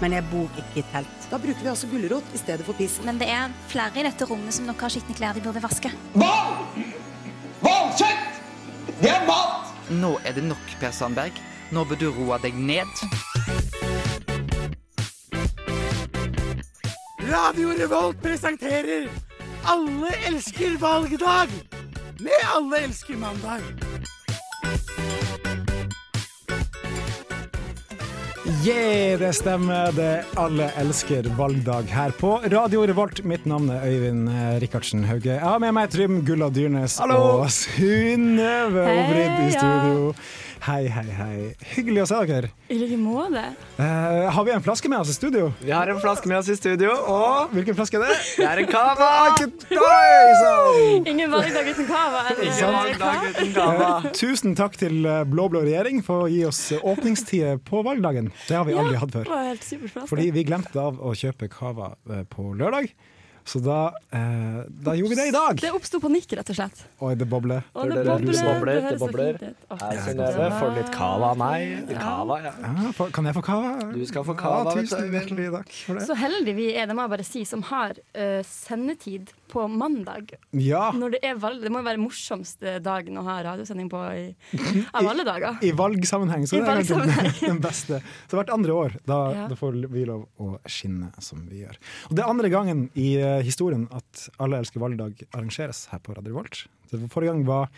men jeg bor ikke i telt. Da bruker vi altså gulrot i stedet for pisk. Men det er flere i dette rommet som nok har skitne klær de burde vaske. Hval! Hvalkjøtt! Det er mat! Nå er det nok, Per Sandberg. Nå bør du roe deg ned. Radio Revolt presenterer Alle elsker valgdag med Alle elsker mandag. Yeah, det stemmer. Det alle elsker valgdag her på Radio Revolt. Mitt navn er Øyvind eh, Rikardsen Hauge. Jeg har med meg Trym Gulla Dyrnes og Synnøve Obrid i studio. Hei, hei, hei. Hyggelig å se dere. I like måte. Eh, har vi en flaske med oss i studio? Vi har en flaske med oss i studio, og Hvilken flaske er det? Ah, det er en kava! Oi, sann! Ingen valgdag uten kava. eller? Valgdag uten kava. Eh, Tusen takk til eh, blå-blå regjering for å gi oss eh, åpningstider på valgdagen. Det har vi aldri hatt før. Det var helt superflask. Fordi vi glemte av å kjøpe cava eh, på lørdag. Så da, eh, da gjorde vi det i dag! Det oppsto panikk, rett og slett. Oi, det bobler. Og det Det bobler. bobler, det høres så bobler. fint ut. Åh, Her, Synnøve, får du litt kava av meg? Kava, ja. Ja, for- kan jeg få cava? Du skal få cava, Ja, vet du. tusen hjertelig takk for det. Så heldige vi er, det må jeg bare si, som har eh, sendetid på mandag. Ja, Når det er valg, det må jo være morsomste dagen å ha radiosending på i, av alle dager. i valgsammenheng så I er det valgsammenheng. kanskje den beste. Så hvert andre år, da, Ja. da får vi lov å skinne som vi gjør. Og det er andre gangen i eh, historien at Alle elsker valgdag arrangeres her på Radio Volt. Så Forrige gang var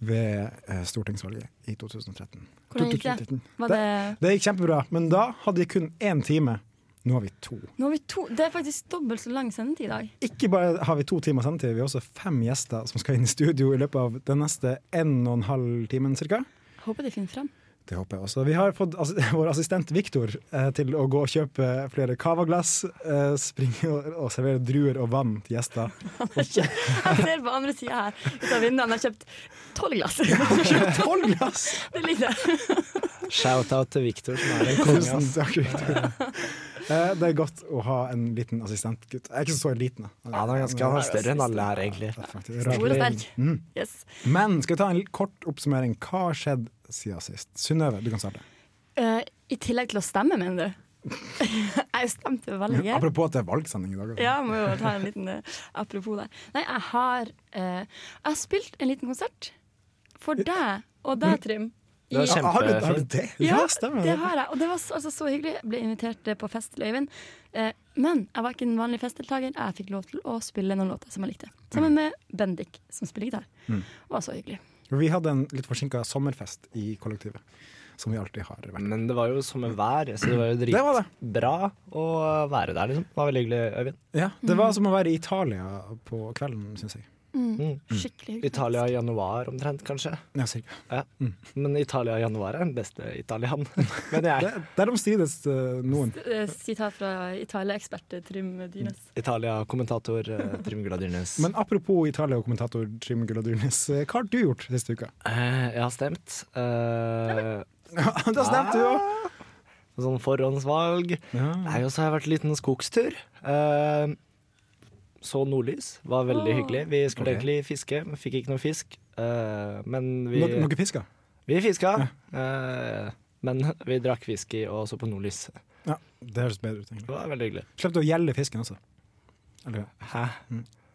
ved eh, stortingsvalget i 2013. Hvordan gikk det? 2013. Var det Det gikk kjempebra, men da hadde vi kun én time. Nå har vi to. Nå har vi to Det er faktisk dobbelt så lang sendetid i dag. Ikke bare har vi to timer sendetid, vi har også fem gjester som skal inn i studio i løpet av den neste en og en halv timen cirka. Jeg Håper de finner frem. Det håper jeg også. Vi har fått ass vår assistent Viktor eh, til å gå og kjøpe flere cavaglass, eh, springe og, og servere druer og vann til gjester. Jeg ser på andre sida her ut av vinduet, han har kjøpt tolv glass. Tolv glass! Det er lite. Shout-out til Victor, som er en konge. Tusen takk, Viktor. Eh, det er godt å ha en liten assistentgutt. Jeg er ikke så liten, da. Han er ganske han er større enn alle her, egentlig. Mm. Faktisk, rar. Store sterk. Yes. Mm. Men skal vi ta en kort oppsummering? Hva har skjedd siden sist? Synnøve, du kan starte. Eh, I tillegg til å stemme, mener du? jeg stemte jo veldig gøy. Apropos at det er valgsending i dag. altså. Ja, må jo ta en liten eh, apropos der. Nei, jeg har eh, Jeg har spilt en liten konsert for deg og deg, Trym. Det var I- kjempe- Har du, har du det? Ja, stemmer det har jeg. Og det var så- altså, så hyggelig. Jeg ble invitert eh, på fest til Øyvind. Eh, men jeg var ikke en vanlig festdeltaker. Jeg fikk lov til å spille noen låter som jeg likte. Sammen med Bendik, som spiller gitar. Det var så hyggelig. Mm. Vi hadde en litt forsinka sommerfest i kollektivet, som vi alltid har vært. Men det var jo som en vær, så det var jo Det var det. dritbra å være der, liksom. Det var veldig hyggelig, Øyvind. Ja, det Mm. var som å være i Italia på kvelden, syns jeg. Mm. Skikkelig hyggelig. Italia i januar omtrent, kanskje. Ja, cirka. Mm. Ja. Men Italia i januar er den beste italian, mener jeg. Det, der de strides eh, noen. Eh, Sitat fra Italia-ekspert Trym Dynes. Italia-kommentator eh, Trym Gulla Dyrnes. Men apropos Italia og kommentator Trym Gulla Dyrnes, eh, hva har du gjort siste uka? Eh, jeg har stemt. Eh, da stemte du òg! sånn forhåndsvalg. Nei, og så har jeg vært en liten skogstur. Eh, så nordlys. Var veldig hyggelig. Vi skulle Ah, Ok. egentlig fiske, men fikk ikke noe fisk. Eh, men vi Noe noe fisker? Vi fiska, eh, men vi drakk whisky og så på nordlys. Ja, det høres bedre ut, egentlig. Det var veldig hyggelig. Slipp å gjelde fisken også. Eller, Mm. Hæ?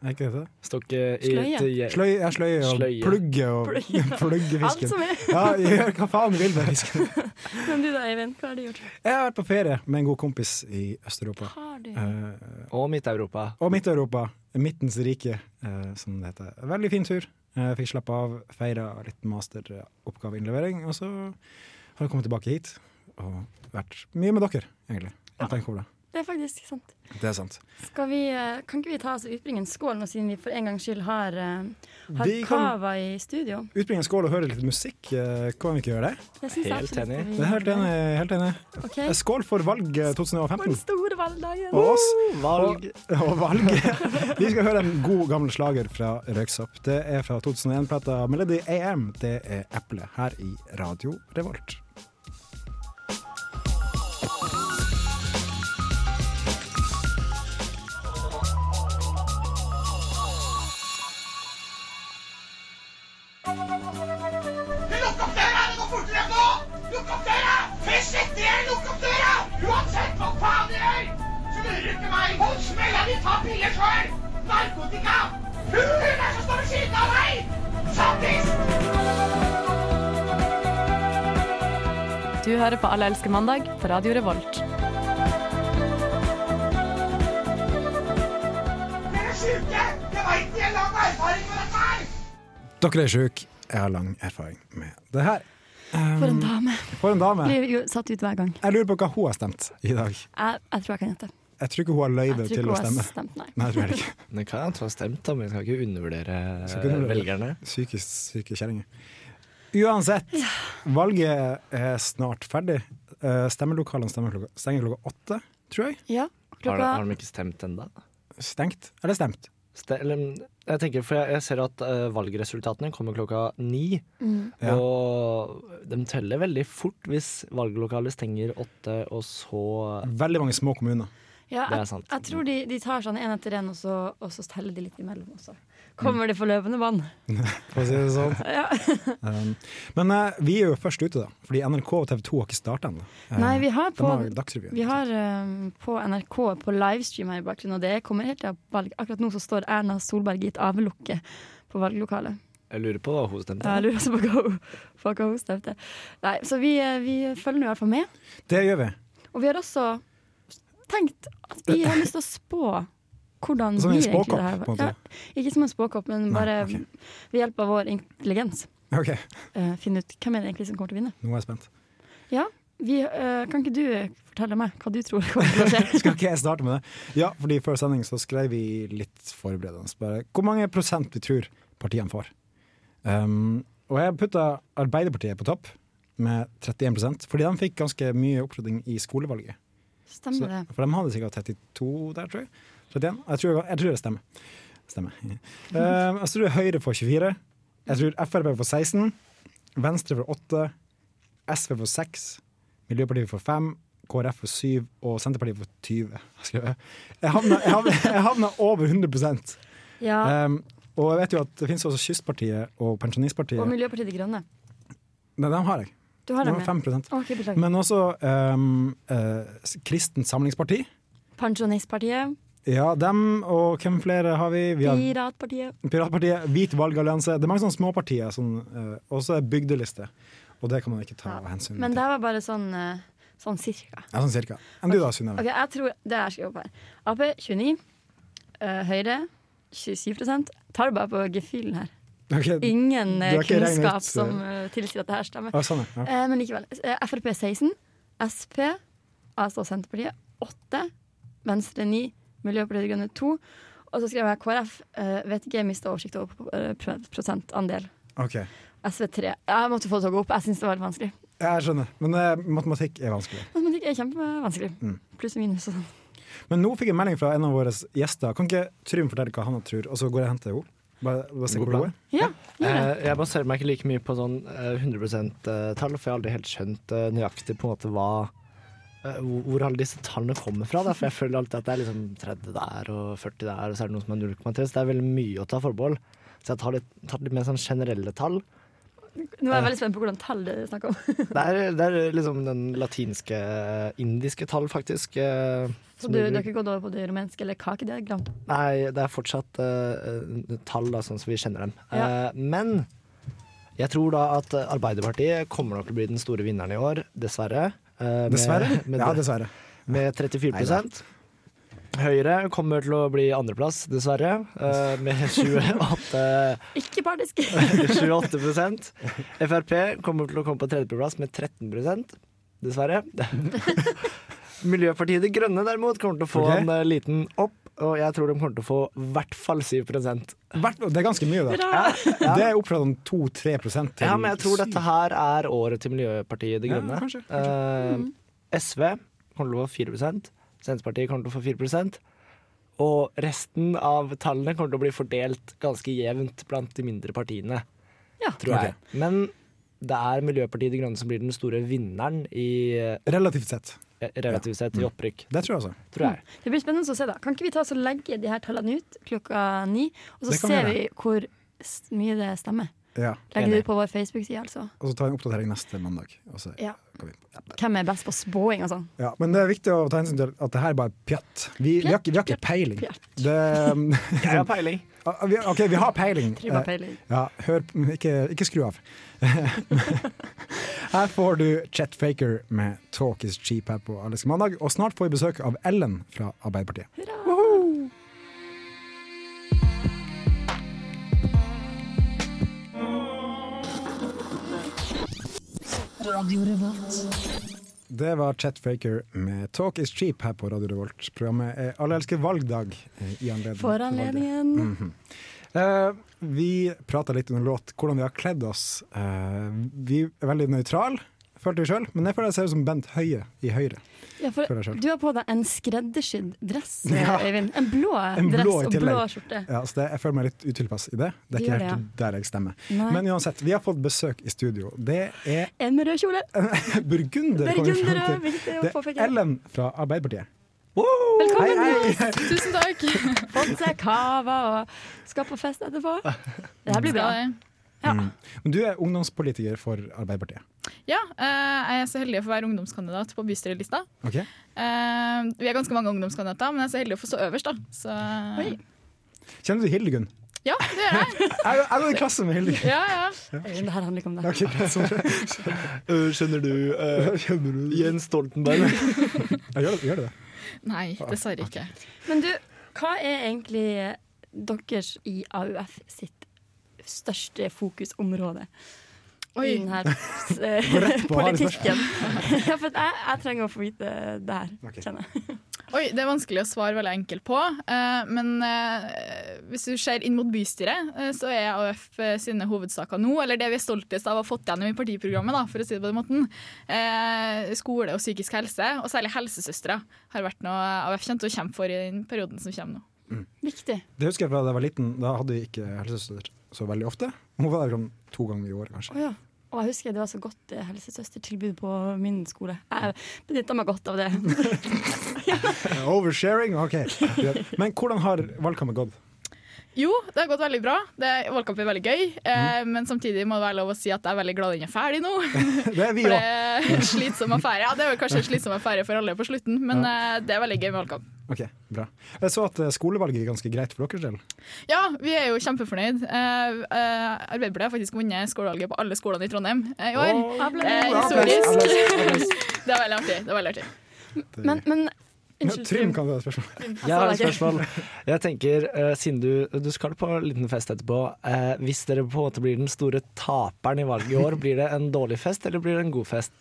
er ikke det det? Står ikke eh, i Sløye. et je- Sløy, ja, sløye og Sløye. plugge og plugge Alt fisken. som er. Ja, gjør hva faen du vil med fisken. Men du da, Eivind, hva har du gjort? Jeg har vært på ferie med en god kompis i Øst-Europa. Har du? Eh, Og Midt-Europa. og Midt-Europa. Midtens rike, eh, som det heter. Veldig fin tur. Eh, fikk slappe av, feira litt masteroppgaveinnlevering. Og så har jeg kommet tilbake hit og vært mye med dere, egentlig. Jeg tenker over Det er faktisk sant. Det Det er sant. Skal vi, eh, kan ikke vi ta oss og utbringe en skål nå, siden vi for en gangs skyld har, eh, har Vi kan- cava i studio? Utbringe en skål og høre litt musikk. Eh, kan vi ikke gjøre det? Jeg synes Helt absolutt enig. at vi- Det er helt enig. Helt enig. Ok. Eh, Skål for valg eh, For den 2015. store valgdagen! Og oss. Valg. Og, og valg. Vi skal høre en god gammel slager fra Røyksopp. Det er fra 2001-plata Melody AM. Det er Eple her i Radio Revolt. Lukk opp døra! Det går fortere nå! Lukk opp døra! Fysj etter dere! Lukk opp døra! Uansett hva faen hører på Alle elsker mandag på Radio Revolt. Dere er sjuke! Jeg veit de har lang erfaring med dette her! Dere er sjuke. Jeg har lang erfaring med det her. For en dame. For en dame. Blir jo satt ut hver gang. Jeg lurer på hva hun har stemt i Eh, dag. Jeg, jeg tror jeg kan gjette. Jeg tror ikke hun har Jeg løyve tror til ikke å hun har stemme. stemt, nei. Nei, jeg tror jeg ikke. Det kan jeg ha stemt, da, men jeg skal ikke undervurdere eh, Skal ikke undervurdere. velgerne. Psykisk syke kjerringer. Uansett, valget er snart ferdig. Eh, Stemmelokalene stemmer klokka- stenger klokka åtte, tror jeg. Ja, Har, de- klokka har de ikke stemt ennå? Stengt? Eller stemt? Ste- eller, mm, Jeg tenker, for jeg, jeg ser at eh, valgresultatene kommer klokka ni. Mm. Ja. Og de teller veldig fort hvis valglokalet stenger åtte, og så Veldig mange små kommuner. Ja, Det er jeg, sant. jeg tror de, de tar sånn én etter én, og, så- og så teller de litt imellom også. Mm. Kommer det for løpende vann? For å si det sånn. um, men eh, vi er jo først ute, da. Fordi NRK og TV 2 har ikke starta ennå. Eh, Nei, vi har de på, har jo Dagsrevyen. vi har, um, på NRK på livestream her i bakgrunnen, og det kommer helt til valg. Akkurat nå så står Erna Solberg i et avlukke på valglokalet. Jeg lurer på hva hun stemte. Jeg lurer også på hva hun- på hva hun stemte. Nei, så vi, eh, vi følger nå i hvert fall med. Det gjør vi. Og vi har også tenkt at vi har lyst til å spå. Hvordan Som en blir egentlig spåkopp, det her? på en måte? Ja, ikke som en spåkopp, men Nei, bare ok. ved hjelp av vår intelligens. OK, eh, finne ut hvem er det egentlig som kommer til å vinne. nå er jeg spent. Ja, vi, eh, Kan ikke du eh, fortelle meg hva du tror kommer til å skje? Skal ikke jeg starte med det? Ja, fordi før sending så skrev vi litt forberedende. Bare hvor mange prosent vi tror partiene får. Um, og jeg putta Arbeiderpartiet på topp med 31 fordi de fikk ganske mye oppslutning i skolevalget. Stemmer det. Så, for de hadde sikkert 32 der, tror jeg. 31. Jeg tror, jeg tror det stemmer. Stemmer. Mm. Eh, jeg tror Høyre får 24. Jeg tror Frp får 16. Venstre får 8. SV får 6. Miljøpartiet får 5. KrF får 7. Og Senterpartiet får 20. har jeg skrevet. Jeg havna, jeg havna, jeg havna over 100 Ja, um, Og jeg vet jo at det finnes også Kystpartiet og Pensjonistpartiet. Og Miljøpartiet De Grønne. Nei, dem har jeg. Du har De dem har med. 5 Ok, beklager. Men også um, eh, Kristent Samlingsparti. Pensjonistpartiet, Ja, dem og hvem flere har vi? Vi har Piratpartiet Piratpartiet, Hvit valgallianse. Det er mange sånne småpartier. Sånn, eh, og så er bygdeliste. Og det kan man ikke ta hensyn Men til. det her var bare sånn, eh, sånn cirka. Ja, sånn cirka. Enn du da, Synnøve? Ok, jeg tror Det er skrevet opp her. Ap 29. eh, Høyre 27 Tar det bare på gefühlen her. Ok, Ingen eh, Du har ikke regnet ut, eh, kunnskap som eh, tilsier at det her stemmer. ja, sånn, ja. ja. Eh, men likevel. Eh, Frp 16, Sp, altså Senterpartiet, 8. Venstre 9, Miljøpartiet De Grønne 2. Og så skrev jeg KrF. Eh, vet ikke, jeg mista oversikt over eh, pro- prosentandel. Ok, SV 3. Jeg måtte få det til å gå opp. Jeg syns det var veldig vanskelig. Jeg skjønner. Men eh, matematikk er vanskelig. Matematikk er kjempevanskelig. Pluss og minus og sånn. Men nå fikk jeg melding fra en av våre gjester. Kan ikke Trym fortelle hva han tror, og så går jeg og henter henne? Bare, bare se God hvor hun plan. er. Ja, gjør det. Eh, Jeg baserer meg ikke like mye på sånn eh, 100 %-tall, for jeg har aldri helt skjønt eh, nøyaktig på en måte hva eh, hvor hvor alle disse tallene kommer fra. Da. For jeg føler alltid at det er liksom 30 der og 40 der, og så er det noen som er 0,3, så det er veldig mye å ta forbehold. Så jeg tar litt, tar litt mer sånn generelle tall. Nå er jeg veldig spent på hvordan tall det er snakk om. Det er, det er liksom den latinske, eh, indiske tall, faktisk. eh, Så som du, du de har bruker. ikke gått over på det rumenske eller kakediagram? Nei, det er fortsatt eh, eh, tall da, sånn som vi kjenner dem. Ja. Eh, men jeg tror da at Arbeiderpartiet kommer nok til å bli den store vinneren i år, dessverre. Eh, Dessverre? Med, med, Ja, dessverre. med 34 Høyre kommer til å bli andreplass, dessverre, eh, med 28 Ikke partisk! 28 Frp kommer til å komme på tredjeplass med 13 dessverre. Miljøpartiet De Grønne derimot kommer til å få Ok. en eh, liten opp, og jeg tror de kommer til å få i hvert fall 7 Hvert, det er ganske mye, da. Det er opp fra sånn 2-3 til Ja, men jeg tror dette her er året til Miljøpartiet De Ja, Grønne. kanskje, Mhm. Eh, SV kommer til å få 4 Senterpartiet kommer til å få 4 og resten av tallene kommer til å bli fordelt ganske jevnt blant de mindre partiene. Ja. tror jeg. Men det er Miljøpartiet De Grønne som blir den store vinneren i eh, Relativt sett. relativt sett i opprykk, Det tror jeg altså. tror jeg. Mm. Det blir spennende å se, da. Kan ikke vi ta oss og legge de her tallene ut klokka ni, og så Det kan vi ser vi hvor s- mye det stemmer? Ja. Legge det ut på vår Facebook-side, altså. Og så tar vi en oppdatering neste mandag. Og så Ja. går vi inn. Hvem er best på spåing og sånn? Ja, men det er viktig å ta hensyn til at det her bare er pjatt. Vi, vi, har, ikke- vi har ikke peiling. Det, Jeg har peiling. Ah, vi, OK, vi har peiling. Tribba peiling. Eh, Ja, hør, ikke, ikke skru av. her får du Chet Faker med 'Talk Is Cheap' her på Alisk mandag, og snart får vi besøk av Ellen fra Arbeiderpartiet. Det var Chet Faker med 'Talk Is Cheap' her på Radio Revolt. Programmet er Alle elsker valgdag. eh, I anledning til For valget. anledningen. Mm. Mhm. Eh, vi prata litt under låt hvordan vi har kledd oss. Eh, vi er veldig nøytrale, følte vi sjøl, men jeg føler jeg ser ut som Bent Høie i Høyre. Ja, for Føler jeg selv. du har på deg en skreddersydd dress, Ja. Øyvind. En blå En blå dress i og tillegg. blå skjorte. Ja, så det, jeg føler meg litt utilpass i det. Det er Du gjør det, ikke helt der jeg stemmer. Nei. Men uansett, vi har fått besøk i studio. Det er En med rød kjole. burgunder, kom vi fram Burgundere, til. viktig å Det er påpeke. Ellen fra Arbeiderpartiet. Velkommen. Hei, hei. Tusen takk. Fått seg cava og skal på fest etterpå. Det her blir bra. Ja. Mm. Men du er ungdomspolitiker for Arbeiderpartiet. Ja, eh, jeg er så heldig å få være ungdomskandidat på bystyrelista. Ok? Eh, vi er ganske mange ungdomskandidater, men jeg er så heldig å få stå øverst, da. Så, Oi. Kjenner du Hildegunn? ja, det gjør jeg. Jeg, jeg var i klasse med Hildegunn. Ja, ja. Øyvind, det her handler ikke om deg. Ok, greit, sånn. Eh, Skjønner du Jens Stoltenberg? Ja, Gjør, gjør du det? Nei, dessverre ikke. Men du, hva er egentlig deres i AUF sitt største fokusområde Oi. i denne eh, rett på harde politikken? ja, for at jeg, jeg trenger å få vite det her, Ok. kjenner jeg. Oi, det er vanskelig å svare veldig enkelt på. eh, men eh, hvis du ser inn mot bystyret, eh, så er AUF sine hovedsaker nå, eller det vi er stoltest av å ha fått gjennom i partiprogrammet, da, for å si det på den måten, eh, skole og psykisk helse, og særlig helsesøstre, har vært noe AUF kommer til å kjempe for i den perioden som kommer nå. Viktig. Det husker jeg fra da jeg var liten. Da hadde vi ikke helsesøster så veldig ofte. Hun var der sånn to ganger i året, kanskje. Å ja. Og jeg husker det var så godt eh, helsesøstertilbud på min skole. Jeg benytta meg godt av det. Eh, Oversharing, ok. Men hvordan har valgkampen gått? Jo, det har gått veldig bra. Det, valgkamp er veldig gøy. Eh, men samtidig må det være lov å si at jeg er veldig glad den er ferdig nå. Det er vi For det òg. er en slitsom affære. Ja, det er vel kanskje en slitsom affære for alle på slutten, men eh, det er veldig gøy med valgkamp. Ok, bra. Jeg så at eh, skolevalget er ganske greit for deres del. Ja, vi er jo kjempefornøyd. Eh, eh, Arbeiderpartiet har faktisk vunnet skolevalget på alle skolene i Trondheim eh, i år. det er historisk. Det er veldig artig. Det er veldig artig. Men, men Unnskyld, unnskyld, Trym Trym. kan ta et spørsmål. Altså, Jeg har Jeg et sa spørsmål. Jeg tenker, eh, Siden du, du skal på en liten fest etterpå, eh, hvis dere på en måte blir den store taperen i valget i år, blir det en dårlig fest eller blir det en god fest?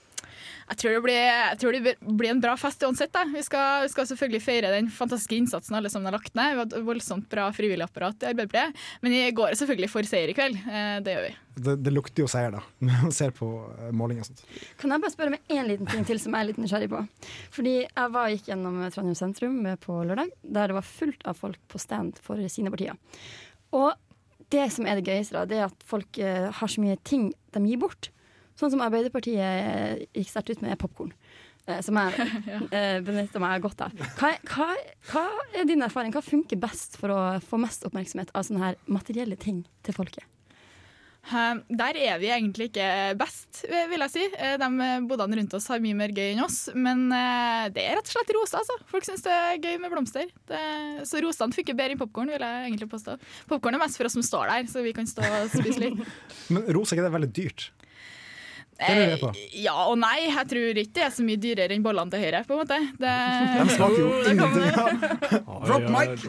Jeg tror det blir, jeg tror det blir en bra fest uansett. Da. Vi, skal, vi skal selvfølgelig feire den fantastiske innsatsen alle sammen har lagt ned. Vi har et voldsomt bra frivillig apparat i Arbeiderpartiet. Men vi går selvfølgelig for seier i kveld. Eh, Det gjør vi. Det, det lukter jo seier, da, når man ser på eh, måling og sånt. Kan jeg bare spørre med én liten ting til som jeg er litt nysgjerrig på? Fordi jeg var, gikk gjennom Trondheim sentrum eh, på lørdag, der det var fullt av folk på stand for sine partier. Og det som er det gøyeste, da, det er at folk eh, har så mye ting de gir bort. Sånn som Arbeiderpartiet eh, gikk sterkt ut med popkorn. eh, Som jeg eh, benytter meg godt av. Hva, er- hva, hva er din erfaring? Hva funker best for å få mest oppmerksomhet av sånne her materielle ting til folket? Eh, Der er vi egentlig ikke best, eh, vil jeg si. Eh, De eh, bodene rundt oss har mye mer gøy enn oss. Men eh, det er rett og slett rosa, altså. Folk syns det er gøy med blomster. Det, så rosene funker bedre enn popkorn, vil jeg egentlig påstå. Popkorn er mest for oss som står der, så vi kan stå og spise litt. Men rosa er ikke det veldig dyrt? Det lurer jeg på. Eh, Ja og nei. Jeg tror ikke det er så mye dyrere enn bollene til høyre. på en måte. De Det, smaker jo Jo, det kommer. ingenting. Ja. Drop mic!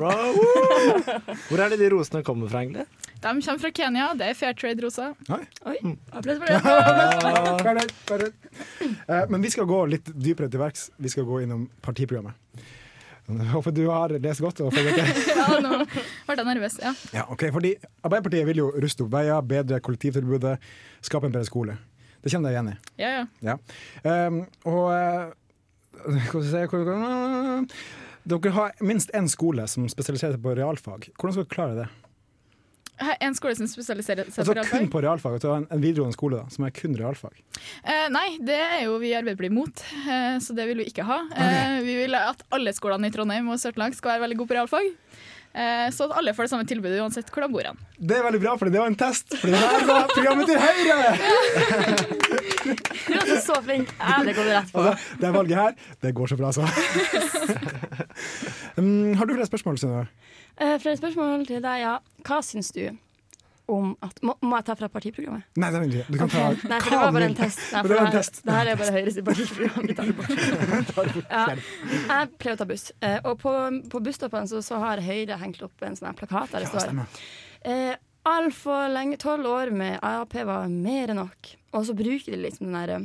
Hvor er det de rosene kommer fra, egentlig? de kommer fra Kenya. Det er fair trade-rosa. Oi, Mm. applaus for det! Fair enough, fair enough. Eh, Men vi skal gå litt dypere til verks. Vi skal gå innom partiprogrammet. Jeg Håper du har lest godt. og følger etter. Ja, nå ble jeg nervøs. ja. Ja, ok, fordi Arbeiderpartiet vil jo ruste opp veier, bedre kollektivtilbudet, skape en bedre skole. Det kjenner jeg igjen i. Ja, ja. Ja. Um, og eh, hva skal jeg si hvor- hvor- Dere har minst én skole som spesialiserer seg på realfag. Hvordan skal dere klare det? Her, En skole som spesialiserer seg på Altså kun realfag? på realfag, at du har en, en videregående skole da, som er kun realfag. Eh, nei, det er jo vi i Arbeiderpartiet imot, Ah, eh, så det vil vi ikke ha. Eh, vi vil at alle skolene i Trondheim og Sør-Trøndelag skal være veldig gode på realfag. eh, så at alle får det samme tilbudet uansett hvor de bor hen. Det er veldig bra, for det var en test. For det der var programmet til Høyre! Du er altså så flink. Ja, det går du rett på. Og det, det valget her, det går så bra, altså. Mm, har du flere spørsmål, Synnøve? Eh, Flere spørsmål til deg, ja. Hva syns du om at Må, må jeg ta fra partiprogrammet? Nei, det er ikke. Du kan ta Ok. Nei, for det hva var du bare vil. en test. Nei, Men for det det, var en her, test. det her er bare Høyres partiprogram. Vi tar det bort. Ja. Jeg pleier å ta buss, eh, og på, på busstoppene så, så har Høyre hengt opp en sånn her plakat der det Ja, står stemmer. eh, Altfor lenge, tolv år med Ap var mer enn nok. Og så bruker de liksom den derre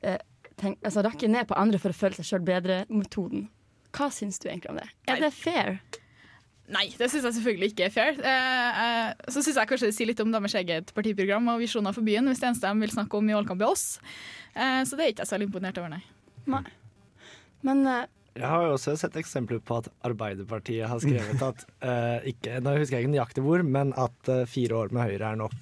eh, tenk- altså, rakke ned på andre for å føle seg sjøl bedre-metoden. Hva syns du egentlig om det? Er det fair? Nei, det syns jeg selvfølgelig ikke er fair. Eh, eh, så syns jeg kanskje det sier litt om deres eget partiprogram og visjoner for byen, hvis det eneste de vil snakke om i valgkamp, er oss. Eh, så det er ikke jeg så veldig imponert over, nei. Men eh, Jeg har jo også sett eksempler på at Arbeiderpartiet har skrevet at eh, ikke, Nå husker jeg ikke nøyaktig hvor, men at eh, fire år med Høyre er nok.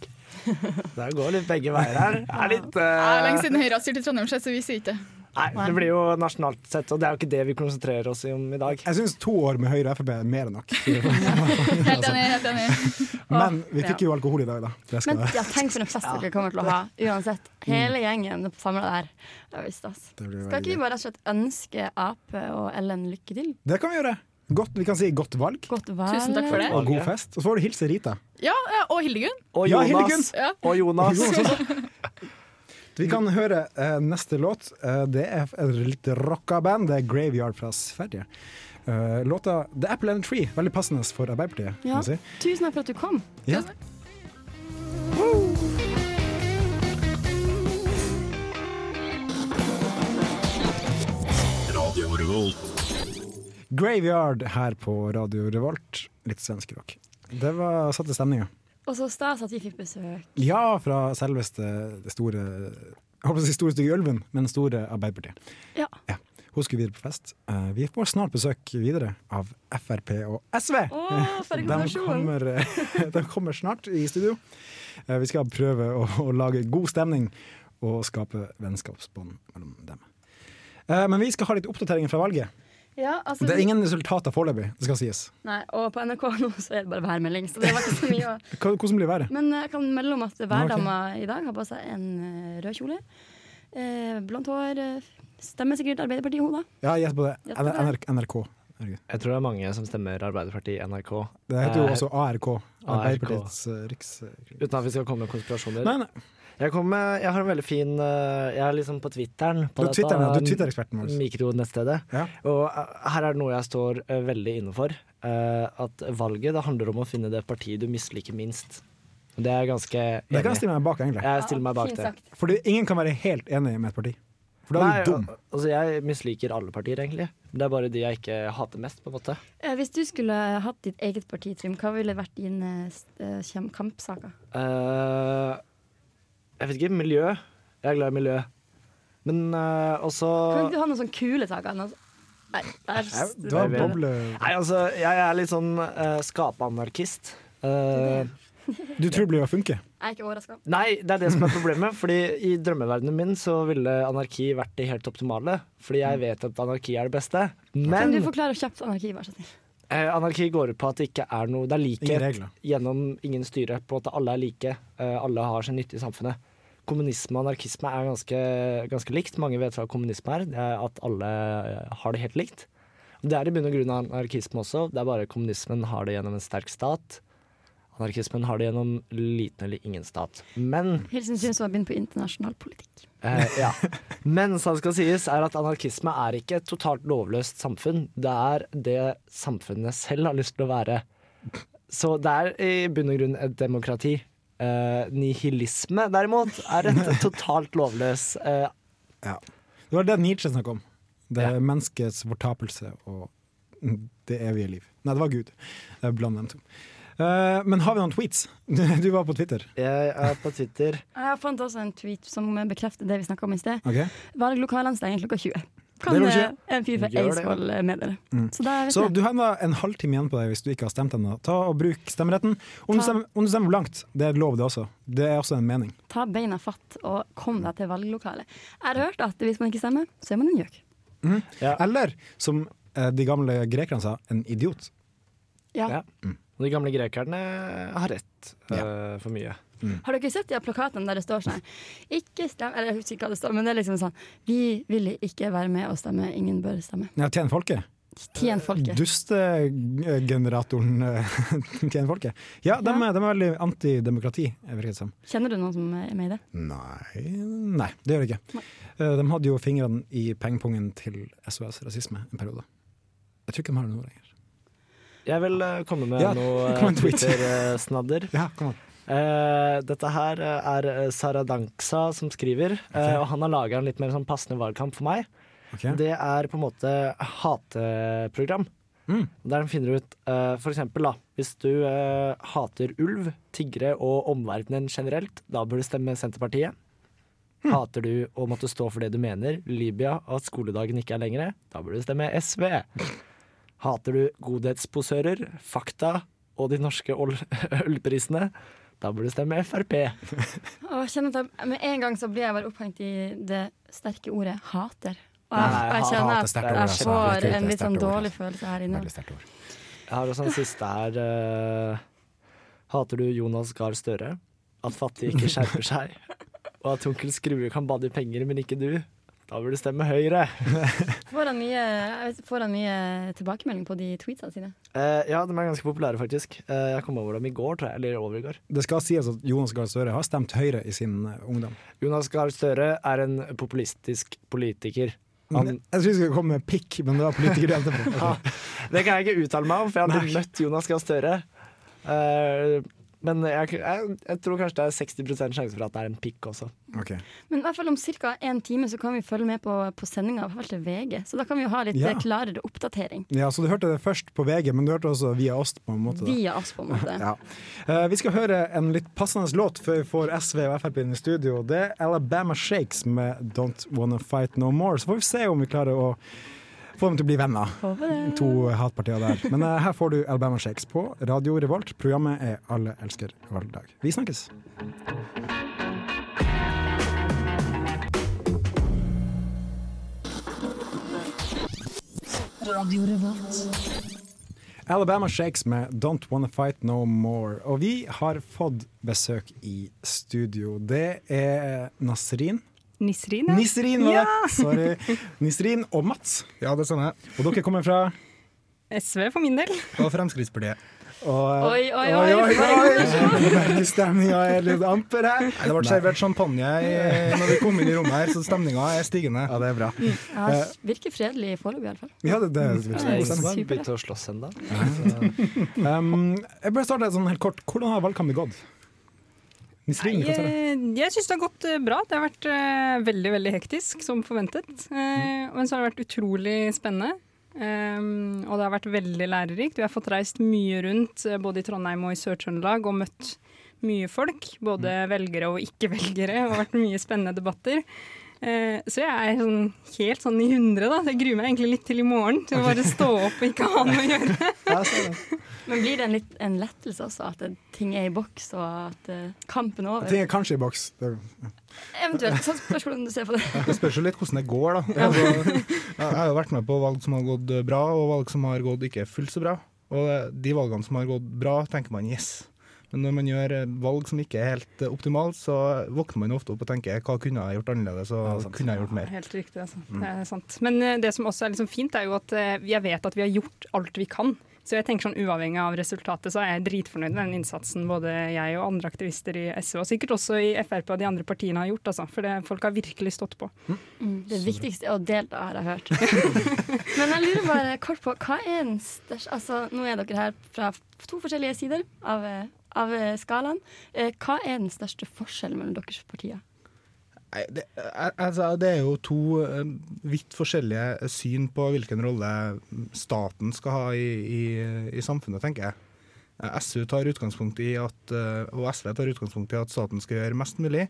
Det går litt begge veier her. Det Er litt, Det er eh, lenge siden Høyre har styrt i Trondheim, så vi sier ikke det. nei, det blir jo nasjonalt sett, og det er jo ikke det vi konsentrerer oss om i dag. Jeg syns to år med Høyre og Frp er mer enn nok. Helt enig. helt enig. Men vi fikk jo alkohol i dag, da. Det skal Mm. Men ja, tenk for en fest dere kommer til å ha, uansett. Hele gjengen samla der. Det er jo stas. Det blir Skal veldig ikke vi bare rett og slett ønske Ap og Ellen lykke til? Det kan vi gjøre. Godt, vi kan si godt valg Godt valg. Tusen takk for det. og god fest. Og så får du hilse Rita. Ja, eh, og Hildegunn. Og Ja, Jonas. Ja. og Jonas. Vi kan høre eh, neste låt. Eh, det er et litt rocka band. Det er Graveyard fra Sverige. Eh, låta The Apple and a Tree. Veldig passende for Arbeiderpartiet. kan Ja. man si. Tusen takk for at du kom. Ja. Graveyard her på Radio Revolt. Litt svensk rock. Det var satte stemninga. Og så stas at vi fikk besøk. Ja, fra selveste det store Jeg holdt på å si store stygge ulven, men store Arbeiderpartiet. Ja. Ja. Hun skulle videre på fest. Eh, Vi får snart besøk videre av Frp og SV. Å, for en de, kombinasjon. kommer, de kommer snart i studio. Eh, Vi skal prøve å, å lage god stemning og skape vennskapsbånd mellom dem. Eh, Men vi skal ha litt oppdateringer fra valget. Ja, altså, Det er vi- ingen resultater foreløpig, det skal sies. Nei, og på NRK nå så er det bare værmelding, så det var ikke så mye å Hva- Hvordan blir været? Men eh, jeg kan melde om at værdama i dag har på seg en eh, rød kjole. Eh, blondt hår. eh, Stemmer sikkert Arbeiderpartiet i hodet. Ja, gjett på det. Gjett på det. NRK. NRK. Norge. Jeg tror det er mange som stemmer Arbeiderpartiet i NRK. Det heter jo Eh, også ARK. ARK. Arbeiderpartiets eh, riks... Uten at vi skal komme med konspirasjoner. Nei, nei. Jeg, kom med, jeg har en veldig fin eh, Jeg er liksom på Twitteren. På Du er dette, Twitter, du er eh, Twitter-eksperten vår. Mikronettstedet. Ja. Og eh, her er det noe jeg står eh, veldig inne for. eh, at valget det handler om å finne det partiet du misliker minst. Det er jeg ganske Det kan jeg enig i. stille meg bak, egentlig. Jeg stiller meg bak Fint det. sagt. Fordi ingen kan være helt enig med et parti. For da er du Nei, dum. al- altså jeg misliker alle partier, egentlig. Det er bare de jeg ikke hater mest, på en måte. Eh, Hvis du skulle hatt ditt eget parti, Trym, hva ville vært dine eh, kjem- kampsaker? Eh, jeg vet ikke. Miljø. Jeg er glad i miljø. Men eh, også Kan ikke du ha noen sånne kule saker? Noe? sånn- Nei, det er Nei, s- Du har boble... Nei, altså, jeg er litt sånn uh, skapeanarkist. Eh, Du tror det blir å funke. jeg er ikke overraska. nei, det er det som er problemet. Fordi i drømmeverdenen min så ville anarki vært det helt optimale. Fordi Mm. jeg vet at anarki er det beste. Kan Men du forklare kjapt anarki, vær så snill? eh, anarki går ut på at det ikke er noe Det er Ingen likhet regler. gjennom ingen styre. På at alle er like. eh, alle har sin nytte i samfunnet. Kommunisme og anarkisme er ganske, ganske likt. Mange vet hva kommunisme er. Det er at alle eh, har det helt likt. Det er i bunn og grunn anarkisme også. Det er bare kommunismen har det gjennom en sterk stat. Anarkismen har det gjennom liten eller ingen stat. Men Hilsen Trym som har begynt på internasjonal politikk. Eh, ja. Men som skal sies, er at anarkisme er ikke et totalt lovløst samfunn. Det er det samfunnet selv har lyst til å være. Så det er i bunn og grunn et demokrati. Eh, nihilisme, derimot, er et totalt lovløs eh, Det var det Nietzsche snakket om. Det er Ja. menneskets fortapelse og det evige liv. Nei, det var Gud. Jeg blander dem to. Eh, men har vi noen tweets? Du var på Twitter. Jeg er på Twitter. Jeg fant også en tweet som bekrefter det vi snakka om i sted. Ok? Valglokalene stenger klokka 20. Det Kan er lov å eh, si. en fyr fra Gjør det. Eidsvoll eh, med dere? Så da vet Så jeg. du har enda en halvtime igjen på deg hvis du ikke har stemt ennå. Ta og Bruk stemmeretten. Om du Ta. stemmer, om du stemmer blankt, det er lov, det også. Det er også en mening. Ta beina fatt og kom deg til valglokalet. Jeg har hørt at hvis man ikke stemmer, så er man en gjøk. Mm. Ja. Eller som eh, de gamle grekerne sa, en idiot. Ja. Ja. Og de gamle grekerne har rett eh, for mye. Har dere sett de her plakatene der det står sånn her Ikke stem Eller jeg husker ikke hva det står, men det er liksom sånn Vi ville ikke være med å stemme, ingen bør stemme. Ja, tjen folket. Tjen folket. Dustegeneratoren eh, tjen folket. Ja, de, Ja. er- de er veldig antidemokrati, virker det som. Kjenner du noen som er med i det? Nei, nei, det gjør jeg ikke. Eh, De hadde jo fingrene i pengepungen til SOS rasisme en periode. Jeg tror ikke de har det nå lenger. Jeg vil eh, komme med Ja, noe kom med en tweet. Twitter-snadder. Ja, kom an. Eh, dette her eh, er eh, Saradanksa som skriver, eh, og han har laga en litt mer sånn passende valgkamp for meg. Ok. Det er på en måte hateprogram. Mm. Der de finner ut eh, for eksempel, da, hvis du eh, hater ulv, tiggere og omverdenen generelt, da bør du stemme Senterpartiet. Hm. Hater du å måtte stå for det du mener, Libya og at skoledagen ikke er lengre, da bør du stemme SV. Hater du godhetsposører, fakta og de norske ol- ølprisene, da bør du stemme Frp. Å, jeg kjenner at jeg, med en gang så blir jeg bare opphengt i det sterke ordet hater. Og jeg, Nei, og jeg hat er kjenner sterkt ord, at jeg Virkelig, altså. får det er en litt sånn sterkt ord, dårlig altså. følelse her inne. Veldig sterkt ord. Jeg har også en siste her. eh, hater du Jonas Gahr Støre? At fattige ikke skjerper seg? Og at onkel Skrue kan bade i penger, men ikke du? Da burde du stemme Høyre. Får han mye, jeg vet- får han mye tilbakemelding på de tweetsene sine? Eh, ja, de er ganske populære, faktisk. Eh, jeg kom over dem i går, tror jeg. Eller over i går. Det skal sies at Jonas Gahr Støre har stemt Høyre i sin eh, ungdom. Jonas Gahr Støre er en populistisk politiker. Han, Men, jeg tror vi skal komme med pikk, men det var politikere etterpå. Ah, det kan jeg ikke uttale meg om, for jeg har aldri møtt Jonas Gahr Støre. Eh, men jeg, jeg, jeg tror kanskje det er 60 sjanse for at det er en pikk også. Ok. Men i hvert fall om ca. en time så kan vi følge med på, på sendinga til VG. Så da kan vi jo ha litt Ja. eh, klarere oppdatering Ja, så du hørte det først på VG, men du hørte også via oss på en måte. da. via oss, på en måte. Ja. Eh, vi skal høre en litt passende låt før vi får SV og Frp inn i studio. Det er Alabama Shakes med Don't Wanna Fight No More. Så får vi se om vi klarer å få dem til å bli venner, to hatpartier der. Men eh, her får du Alabama Shakes på Radio Revolt. Programmet er Alle elsker valgdag. Vi snakkes. Alabama Shakes med Don't Wanna Fight No More. Og vi har fått besøk i studio. Det er Nasrin. Nisrin, ja. Nisrin, var det! Sorry. Nisrin og Mats. Ja, det stemmer. sånn Og dere kommer fra SV for min del. Og Fremskrittspartiet. og, Oi, oi, Oi, oi! oi, for en kombinasjon! Stemninga er litt amper her. Nei, det ble servert champagne i- når vi kom inn i rommet her, så stemninga er stigende. Ja, det er bra. Ja, virker fredelig foreløpig, i hvert fall. Ja, det, det, det, Det er ingen som har Supert. begynt å slåss ennå. Um, jeg bare starter sånn helt kort. Hvordan har valgkampen gått? Nisrin, hva sier du? Jeg, jeg syns det har gått eh, bra. Det har vært eh, veldig veldig hektisk, som forventet. Eh, Mm. Men så har det vært utrolig spennende. Um, og det har vært veldig lærerikt. Vi har fått reist mye rundt, eh, både i Trondheim og i Sør-Trøndelag, og møtt mye folk. Både Mm. velgere og ikke-velgere. Og vært mye spennende debatter. Eh, så jeg er sånn, helt sånn i hundre, da. Jeg gruer meg egentlig litt til i morgen. Til å bare stå opp og ikke ha noe å gjøre. Ja, så- Men blir det en, litt, en lettelse også, at eh, ting er i boks, og at eh, kampen er over? Ting er kanskje i boks. Det- Eventuelt. Sånn spørsmål om du ser på det. Det spørs jo litt hvordan det går, da. Altså, jeg har jo vært med på valg som har gått bra, og valg som har gått ikke fullt så bra. Og de valgene som har gått bra, tenker man yes. Men når man gjør valg som ikke er helt optimalt, så våkner man ofte opp og tenker hva kunne jeg gjort annerledes, og kunne jeg gjort mer. Helt riktig, altså. Det er sant. Men eh, det som også er liksom fint, er jo at eh, jeg vet at vi har gjort alt vi kan. Så jeg tenker sånn uavhengig av resultatet, så er jeg dritfornøyd med den innsatsen både jeg og andre aktivister i SV, og sikkert også i Frp og de andre partiene har gjort, altså. For det, folk har virkelig stått på. Mm, Det viktigste er å delta, har jeg hørt. Men jeg lurer bare kort på hva er den største Altså, nå er dere her fra to forskjellige sider av, eh, av eh, skalaen. Eh, Hva er den største forskjellen mellom deres partier? Nei, det, al- altså, det er jo to eh, vidt forskjellige eh, syn på hvilken rolle mm, staten skal ha i, i, i samfunnet, tenker jeg. Eh, SU tar utgangspunkt i at, eh, og SV tar utgangspunkt i at staten skal gjøre mest mulig,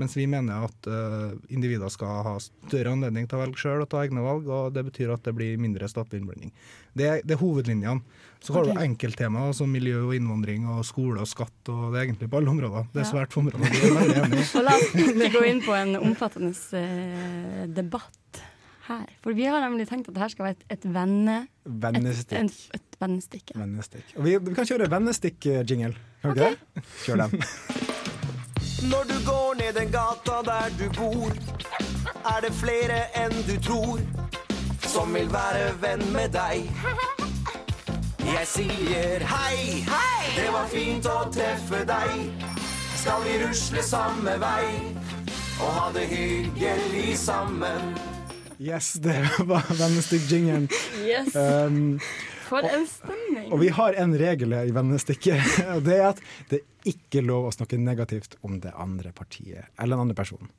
mens vi mener at eh, individer skal ha større anledning til å velge sjøl og ta egne valg, og det betyr at det blir mindre statlig innblanding. Det, er- det er hovedlinjene. Så har du enkelttemaer som miljø og innvandring og skole og skatt, og det er egentlig på alle områder. Det er svært få områder. vi er veldig enige. Og la oss ikke gå inn på en omfattende eh, debatt her? For vi har nemlig tenkt at det her skal være et, et venne... Et, en, Vennestikk. et vennestikk. Ja. Vennestikk. Og vi, vi kan kjøre vennestikk-jingle. Kan vi ikke det? Kjør den. Når du går ned den gata der du bor, er det flere enn du tror som vil være venn med deg. Jeg sier hei, hei, det var fint å treffe deg. Skal vi rusle samme vei og ha det hyggelig sammen? Yes, det var vennestikk-jingelen. Yes. Um, For en stemning! og vi har en regel i vennestykket, og det er at det er ikke lov å snakke negativt om det andre partiet eller den andre personen.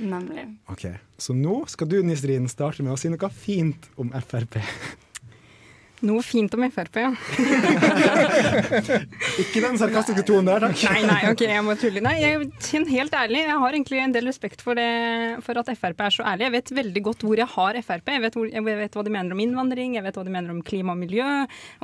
Nemlig. Ok, Så nå skal du Nils Rien, starte med å si noe fint om Frp. Noe fint om Frp, ja. Ikke den sarkastiske tonen der, takk. Nei, nei, ok, jeg må tulle. Nei, jeg, sånn helt ærlig, jeg har egentlig en del respekt for, det, for at Frp er så ærlig. Jeg vet veldig godt hvor jeg har Frp. Jeg vet, hvor, jeg vet hva de mener om innvandring, jeg vet hva de mener om klima og miljø,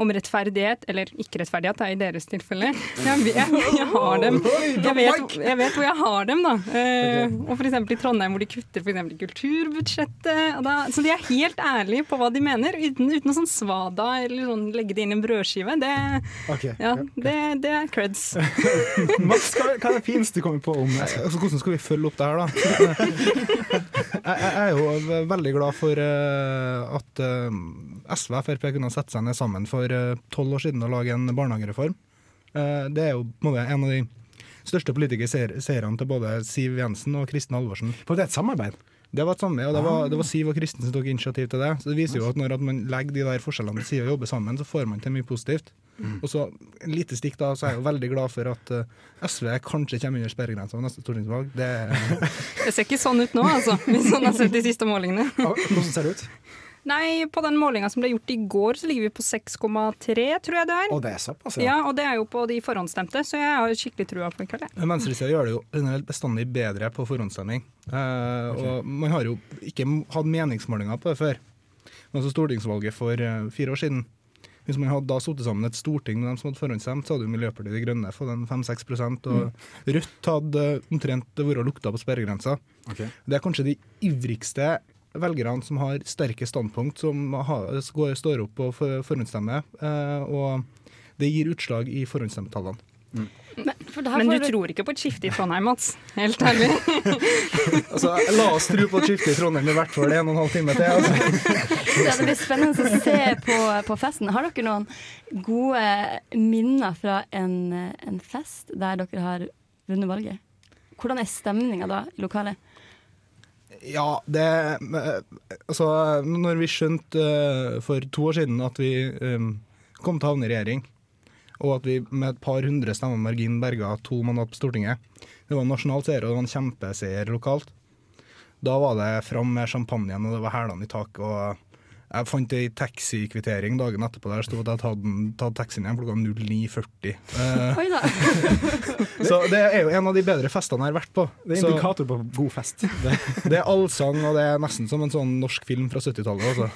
om rettferdighet, eller ikke rettferdighet, det er i deres tilfelle. Jeg, vet, jeg har dem. Jeg vet, jeg vet hvor jeg har dem, da. Eh, og f.eks. i Trondheim, hvor de kutter for eksempel i kulturbudsjettet. Og da, så de er helt ærlige på hva de mener, uten, uten noe sånn svada eller sånn legge det inn i en brødskive. Det, Ok, ja, det, det er creds. Mats, hva hva er det fineste du kommer på om Frp? Altså, hvordan skal vi følge opp det her, da? jeg, jeg er jo ve- veldig glad for eh, at eh, SV og Frp kunne sette seg ned sammen for eh, tolv år siden og lage en barnehagereform. Eh, det er jo på en måte en av de største politikerseerne til både Siv Jensen og Kristin Halvorsen. For det er et samarbeid. Ah. Det var et samarbeid, og det var, det var Siv og Kristin som tok initiativ til det. Så det viser jo at når at man legger de der forskjellene til side og jobber sammen, så får man til mye positivt. Mm. Og så en lite stikk da, så er jeg jo veldig glad for at eh, SV kanskje kommer under sperregrensa ved neste stortingsvalg. Det er Det ser ikke sånn ut nå, altså, hvis man har sett de siste målingene. Ah, Hvordan ser det ut? Nei, på den målinga som ble gjort i går, så ligger vi på 6,3, tror jeg det er. Å, det er såpass, ja. Ja, og det er jo på de forhåndsstemte, så jeg har skikkelig trua på i kveld. jeg. Men Venstresida gjør det jo generelt bestandig bedre på forhåndsstemming. Eh, Og man har jo ikke m- hatt meningsmålinger på det før. Men altså stortingsvalget for eh, fire år siden. Hvis man hadde da sittet sammen et storting med dem som hadde forhåndsstemt, så hadde jo Miljøpartiet De Grønne fått en 5-6 prosent, og Rødt hadde eh, omtrent vært og lukta på sperregrensa. Det er kanskje de ivrigste velgerne som har sterke standpunkt, som har, går, står opp og for- forhåndsstemmer. eh, Og det gir utslag i forhåndsstemmetallene. For det her Men får du tror ikke på et skifte i Trondheim, Mats? Helt ærlig. Altså, la oss tro på et skifte i Trondheim i hvert fall en og en halv time til. Altså. Ja, det blir spennende å se på, på festen. Har dere noen gode minner fra en, en fest der dere har vunnet valget? Hvordan er stemninga da i lokalet? Ja, det eh, Altså, når vi skjønte eh, for to år siden at vi eh, kom til å havne i regjering, og at vi med et par hundre stemmer margin berga to mandat på Stortinget Det var en nasjonal seier, og det var en kjempeseier lokalt. Da var det fram med champagnen, og det var hælene i taket. og jeg fant ei taxikvittering dagen etterpå der det sto at jeg hadde tatt den- tatt taxien hjem klokka 09.40. Eh, Oi da! så det er jo en av de bedre festene jeg har vært på. Det er Så- indikator på god fest. Det er allsang, og det er nesten som en sånn norsk film fra 70-tallet. Altså.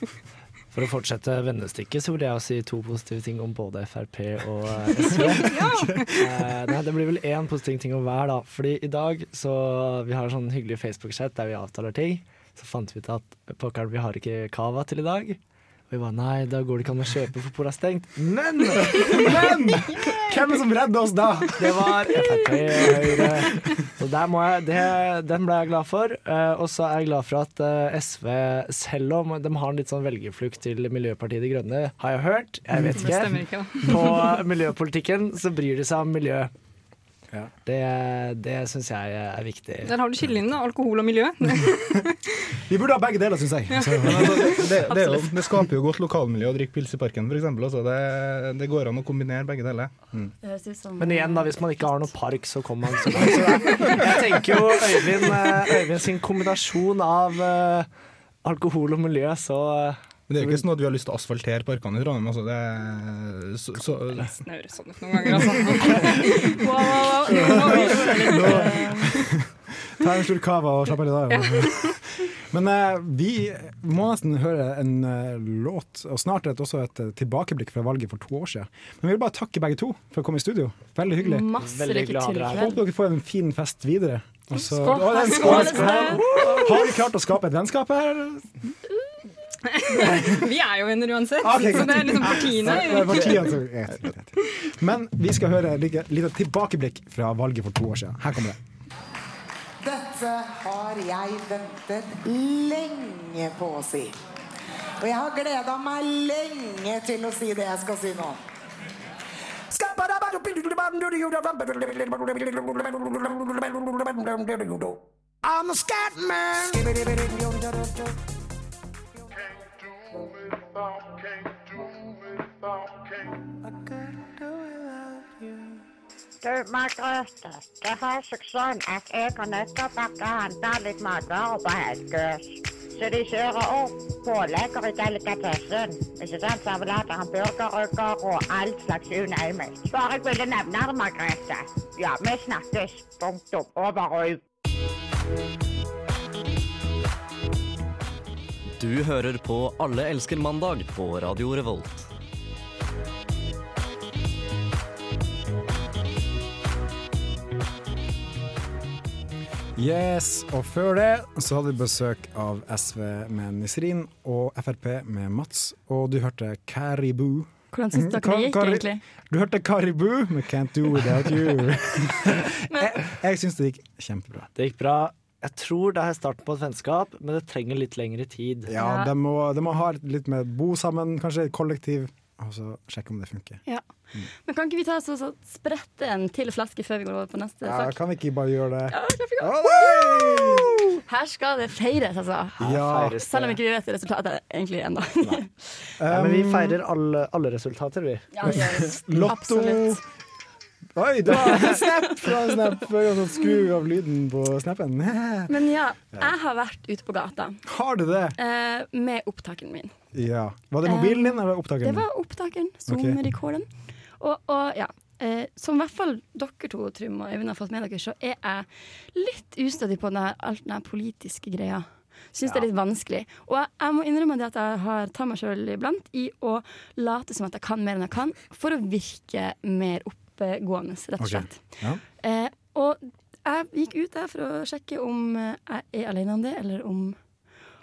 For å fortsette vennestykket, så vil jeg si to positive ting om både Frp og eh, SV. Eh, Nei, det blir vel én positiv ting om hver, da. Fordi i dag så Vi har en sånn hyggelig Facebook-chat der vi avtaler ting. Så fant vi ut at pokker, vi har ikke cava til i dag. Og vi bare nei, da går det ikke an å kjøpe, for polet er stengt. Men! Men hvem er som redder oss da? Det var Frp og Høyre. Så der må jeg, det, den ble jeg glad for. Eh, og så er jeg glad for at eh, SV, selv om de har en litt sånn velgerflukt til Miljøpartiet De Grønne, har jeg hørt, jeg Det vet stemmer ikke, ikke, da. på miljøpolitikken, så bryr de seg om miljø. Ja. Det, det syns jeg er viktig. Der har du skillelinjen, da. Alkohol og miljø. Vi burde ha begge deler, syns jeg. Så, Men altså, det, det, er jo, det skaper jo godt lokalmiljø å drikke pils i parken, f.eks. Altså, det, det går an å kombinere begge deler. Mm. Det høres ut som Men igjen, da, hvis man ikke har noen park, så kommer man så langt. Så det er- Jeg tenker jo Øyvind, eh, Øyvind sin kombinasjon av eh, alkohol og miljø, så eh, Men det er jo ikke sånn at vi har lyst til å asfaltere parkene i Trondheim. Altså, det, så, så, Det høres sånn ut noen ganger, altså. Wow, wow, wow. ta en slurk kava og slapp av litt av. Men eh, vi må nesten høre en eh, låt, og snart et, også et eh, tilbakeblikk fra valget for to år siden. Men vi vil bare takke begge to for å komme i studio. Veldig hyggelig. Masse Veldig lykke glad til. dere er i her. kveld. Håper dere får en fin fest videre. Og så- Skål. Å, det er en Skål, skål. Espen. Har vi klart å skape et vennskap her? Vi er jo venner uansett, Ok, så greit. det er liksom partiene. Det er partiene som- jeg tror det. Men vi skal høre et lite lite tilbakeblikk fra valget for to år siden. Her kommer det. Dette har jeg ventet lenge på å si. Og jeg har gleda meg lenge til å si det jeg skal si nå. I'm a scat man. Du, Margrethe, det har seg sånn at jeg og nøttebakke handler litt matvarer på Helgøs. Så de kjører opp pålegger i delikatessen. Ikke sant? Servelater, hamburgerrygger og all slags you name it. Bare jeg ville nevne det, Margrethe. Ja, vi snakkes. Punktum. Over og ut. Du hører på Alle elsker mandag på Radio Revolt. Yes, og før det så hadde vi besøk av SV med Nisrin og Frp med Mats, og du hørte Caribou. Hvordan synes dere det Ka- gikk, Kari- egentlig? Du hørte Caribou med Can't Do Without You. jeg jeg syns det gikk kjempebra. Det gikk bra. Jeg tror det er starten på et vennskap, men det trenger litt lengre tid. Ja, De, må, de må ha litt mer bo sammen, kanskje et kollektiv, og så sjekke om det funker. Ja. Men kan ikke vi ta så, så sprette en til flaske før vi går over på neste Ja, sak? kan vi ikke bare gjøre det? Her skal det feires, altså. Ja. feires det. Selv om ikke vi vet resultatet egentlig ennå. Ja, men vi um, feirer alle, alle resultater, vi. Ja, det gjør vi. Lotto. Oi, det var en snap fra en snap! Jeg kan Skru av lyden på snappen. Men ja, jeg har vært ute på gata Har du det? eh, med opptakeren min. Ja. Var det mobilen din eller Det opptakeren? din? var opptakeren. Zoom-rekorden. Og, og ja. Eh, som i hvert fall dere to, Trym og Øyvind, har fått med dere, så er jeg litt ustødig på den her, alt den her politiske greia. Syns det er litt vanskelig. Og jeg, jeg må innrømme det at jeg har tatt meg sjøl iblant i å late som at jeg kan mer enn jeg kan, for å virke mer oppegående, rett og Ok. slett. Ja. Eh, og jeg gikk ut der for å sjekke om eh, jeg er alene om det, eller om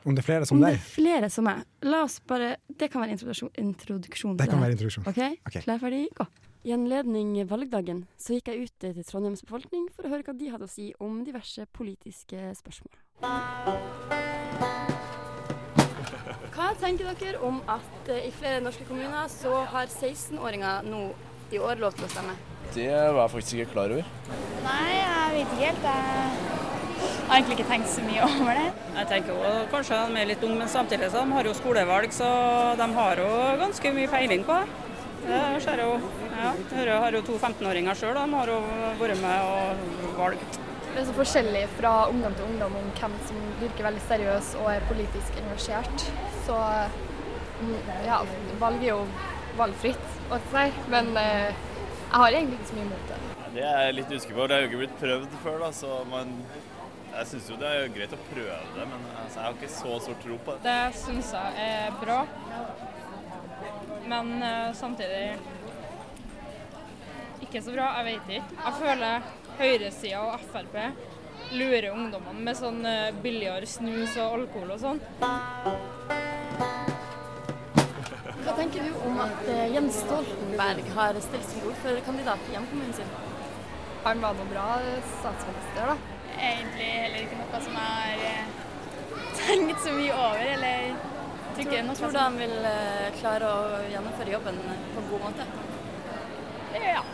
Om det er flere om som det deg? er flere som meg. La oss bare, Det kan være introduksjon. introduksjon Det til kan her. være introduksjon. Ok? Ok. Klar, ferdig, gå. I anledning valgdagen så gikk jeg ut til Trondheims befolkning for å høre hva de hadde å si om diverse politiske spørsmål. Hva tenker dere om at eh, i flere norske kommuner så har 16-åringer nå i år lov til å stemme? Det var jeg faktisk ikke klar over. Nei, jeg vet ikke helt. Jeg har egentlig ikke tenkt så mye over det. Jeg tenker jo kanskje de er litt unge, men samtidig så de har jo skolevalg, så de har jo ganske mye peiling på det. Det ser jeg jo. Ja, jeg har jo to 15-åringer sjøl, de har jo vært med og valgt. Det er så forskjellig fra ungdom til ungdom om hvem som virker veldig seriøs og er politisk engasjert. Så mm, ja, valg er jo valgfritt, å si, men eh, jeg har egentlig ikke så mye imot det. Det er jeg litt usikker på. Det er jo ikke blitt prøvd før, da, så man Jeg syns jo det er greit å prøve det, men altså, jeg har ikke så stor tro på det. Det syns jeg er bra. Men eh, samtidig ikke så bra. Jeg vet ikke. Jeg føler høyresida og Frp lurer ungdommene med sånn eh, billigere snus og alkohol og sånn. Hva tenker du om at eh, Jens Stoltenberg har stilt som ordførerkandidat i hjemkommunen sin? Han var noe bra statsminister, da. Egentlig heller ikke noe som jeg har eh, tenkt så mye over, eller Tror, tykker noe tror du han vil eh, klare å gjennomføre jobben på en god måte? Ja.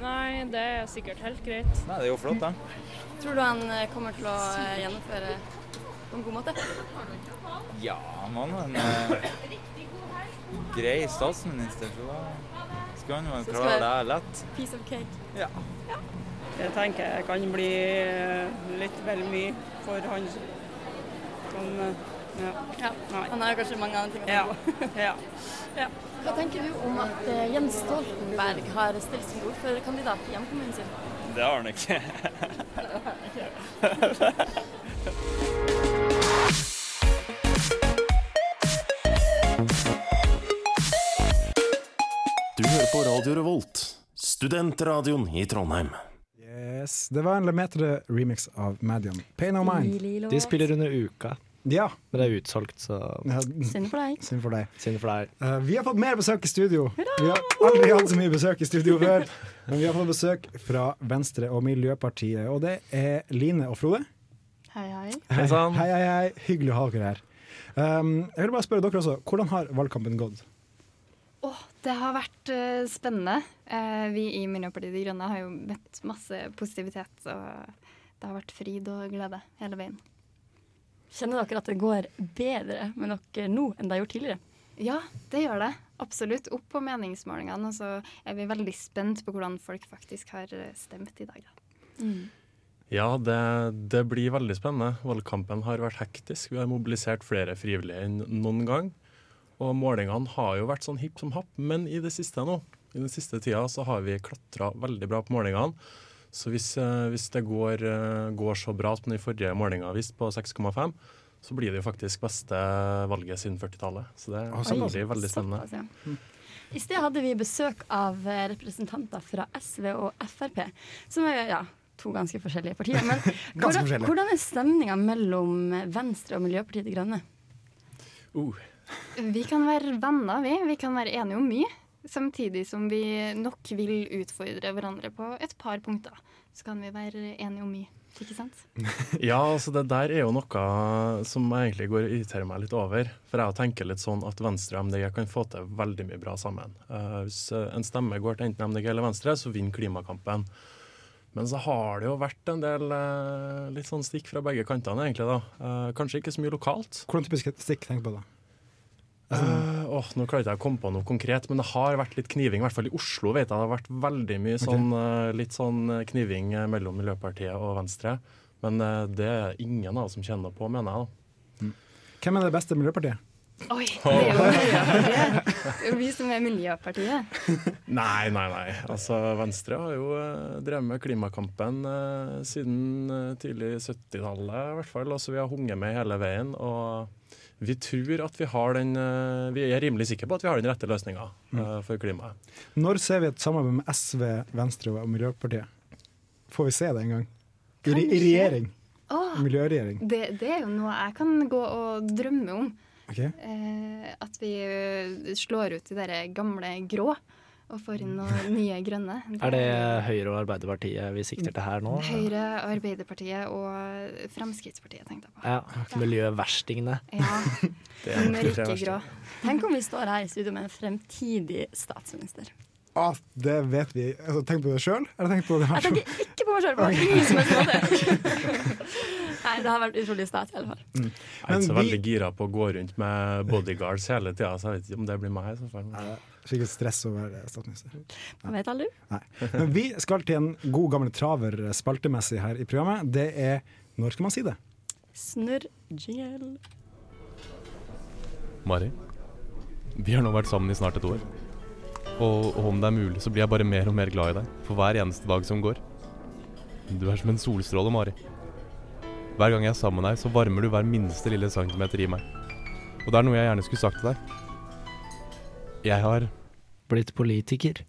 Nei, det er sikkert helt greit. Nei, det er jo flott, da. Tror du han eh, kommer til å eh, gjennomføre på en god måte? Ja, man var en eh, grei statsminister, så da skulle han jo Så skal klare jeg- det lett. Piece of cake. Ja. Jeg tenker jeg kan bli litt vel mye for han. Sånn, ja. Ja. Han har jo kanskje mange andre ting å Ja. tenke på. ja. Hva tenker du om at eh, Jens Stoltenberg har stilt som ordførerkandidat i hjemkommunen sin? Det har han ikke. Du hører på Radio Revolt, studentradioen i Trondheim. Yes. Det var en Lemetre remix av Madian. Pain of Mind. De spiller under uka, Ja. men det er utsolgt, så Ja. Synd for deg. Synd for deg. Synd for deg. Eh, vi har fått mer besøk i studio. Vi har aldri hatt så mye besøk i studio før. Men vi har fått besøk fra Venstre og Miljøpartiet, og det er Line og Frode. Hei, hei. Hei, hei, hei, hei. Hyggelig å ha dere her. Um, jeg vil bare spørre dere også, Hvordan har valgkampen gått? Åh, det har vært eh, spennende. Eh, vi i Miljøpartiet De Grønne har jo møtt masse positivitet, og det har vært fryd og glede hele veien. Kjenner dere at det går bedre med dere nå enn det har gjort tidligere? Ja, det gjør det. Absolutt. Opp på meningsmålingene. Og så er vi veldig spent på hvordan folk faktisk har eh, stemt i dag. Da. Ja, det, det blir veldig spennende. Valgkampen har vært hektisk. Vi har mobilisert flere frivillige enn noen gang. Og målingene har jo vært sånn hipp som happ, men i det siste nå, i den siste tida, så har vi klatra veldig bra på målingene. Så hvis, eh, hvis det går, eh, går så bra som den forrige målinga viste, på 6,5, så blir det jo faktisk beste valget siden 40-tallet. Så det Å, såpass. blir veldig spennende. Såpass, ja. Mm. I sted hadde vi besøk av eh, representanter fra SV og Frp, som er ja, to ganske forskjellige partier. Men hvordan, forskjellige. hvordan er stemninga mellom Venstre og Miljøpartiet De Grønne? Uh. Vi kan være venner, vi. Vi kan være enige om mye. Samtidig som vi nok vil utfordre hverandre på et par punkter. Så kan vi være enige om mye, ikke sant? Ja, altså det der er jo noe som jeg egentlig går og irriterer meg litt over. For jeg tenker litt sånn at Venstre og MDG kan få til veldig mye bra sammen. Eh, hvis en stemme går til enten MDG eller Venstre, så vinner klimakampen. Men så har det jo vært en del eh, litt sånn stikk fra begge kantene, egentlig. da. Eh, kanskje ikke så mye lokalt. Hvordan typiske stikk tenker du på da? Altså, Eh, åh, nå klarer ikke jeg å komme på noe konkret, men det har vært litt kniving. I hvert fall i Oslo vet jeg det har vært veldig mye sånn, eh, litt sånn eh, kniving eh, mellom Miljøpartiet og Venstre. Men eh, det er ingen av oss som kjenner på, mener jeg. da. Mm. Hvem er det beste miljøpartiet? Oi, det er jo Miljøpartiet. Det er jo vi som er Miljøpartiet. Nei, nei, nei. Altså, Venstre har jo eh, drevet med klimakampen eh, siden eh, tidlig 70-tallet, i hvert fall. Altså, vi har hunget med hele veien. Og vi tror at vi har den eh, Vi er rimelig sikre på at vi har den rette løsninga Mm. eh, for klimaet. Når ser vi et samarbeid med SV, Venstre og Miljøpartiet? Får vi se det en gang? I, re- i regjering? Åh, Miljøregjering. det, det er jo noe jeg kan gå og drømme om. Ok. Eh, at vi eh, slår ut de der gamle grå og får inn noen nye grønne. Mm. Er det Høyre og Arbeiderpartiet vi sikter til her nå? Høyre, Arbeiderpartiet og Fremskrittspartiet, tenkte jeg på. Ja, Miljøverstingene. Ja. Det er nok det verste. Tenk om vi står her i studio med en fremtidig statsminister. Ah, det vet vi. Altså, tenk på det sjøl, eller tenk på det Jeg tenker ikke på meg sjøl på ingen som helst måte. Nei, det har vært utrolig stas i alle fall. Jeg er ikke så veldig gira på å gå rundt med bodyguards hele tida, så jeg vet ikke om det blir meg. i så fall. Sikkert stress å være statsminister. Man vet aldri. Nei. Men vi skal til en god gammel traver spaltemessig her i programmet. Det er Når skal man si det? Snurr jingle. Mari, vi har nå vært sammen i snart et år. Og, og om det er mulig, så blir jeg bare mer og mer glad i deg for hver eneste dag som går. Du er som en solstråle, Mari. Hver gang jeg er sammen med deg, så varmer du hver minste lille centimeter i meg. Og det er noe jeg gjerne skulle sagt til deg. Jeg har Blitt politiker.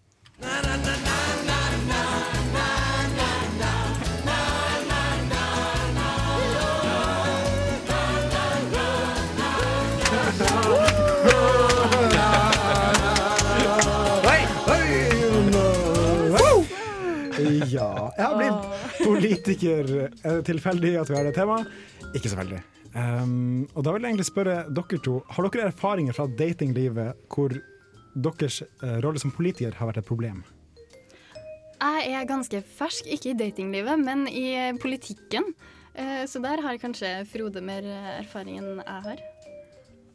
Ja. Jeg har blitt politiker. Er det tilfeldig at vi har det temaet? Ikke så veldig. Um, og da vil jeg egentlig spørre dere to, har dere erfaringer fra datinglivet hvor deres eh, rolle som politiker har vært et problem? Jeg er ganske fersk, ikke i datinglivet, men i politikken. Eh, Så der har kanskje Frode mer eh, erfaring enn jeg har.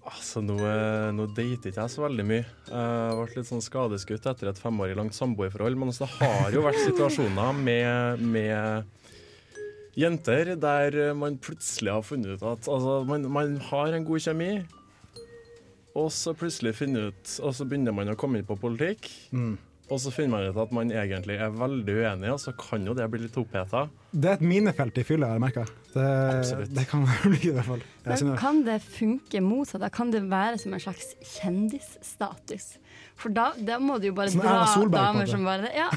Altså, nå, eh, nå dater ikke jeg så veldig mye. Jeg ble litt sånn skadeskutt etter et femårig langt samboerforhold. Men altså, det har jo vært situasjoner med, med jenter der man plutselig har funnet ut at altså, man, man har en god kjemi, og så plutselig finner ut Og så begynner man å komme inn på politikk. Og så finner man ut at man egentlig er veldig uenig, og så kan jo det bli litt oppheta. Det er et minefelt i fylla, har jeg merka. Det, Absolutt. det kan bli det, i hvert fall. Jeg Men synes- kan det funke motsatt? Da Kan det være som en slags kjendisstatus? For da, da må du jo bare Som dra Erna Solberg, på en damer måte. som bare Ja,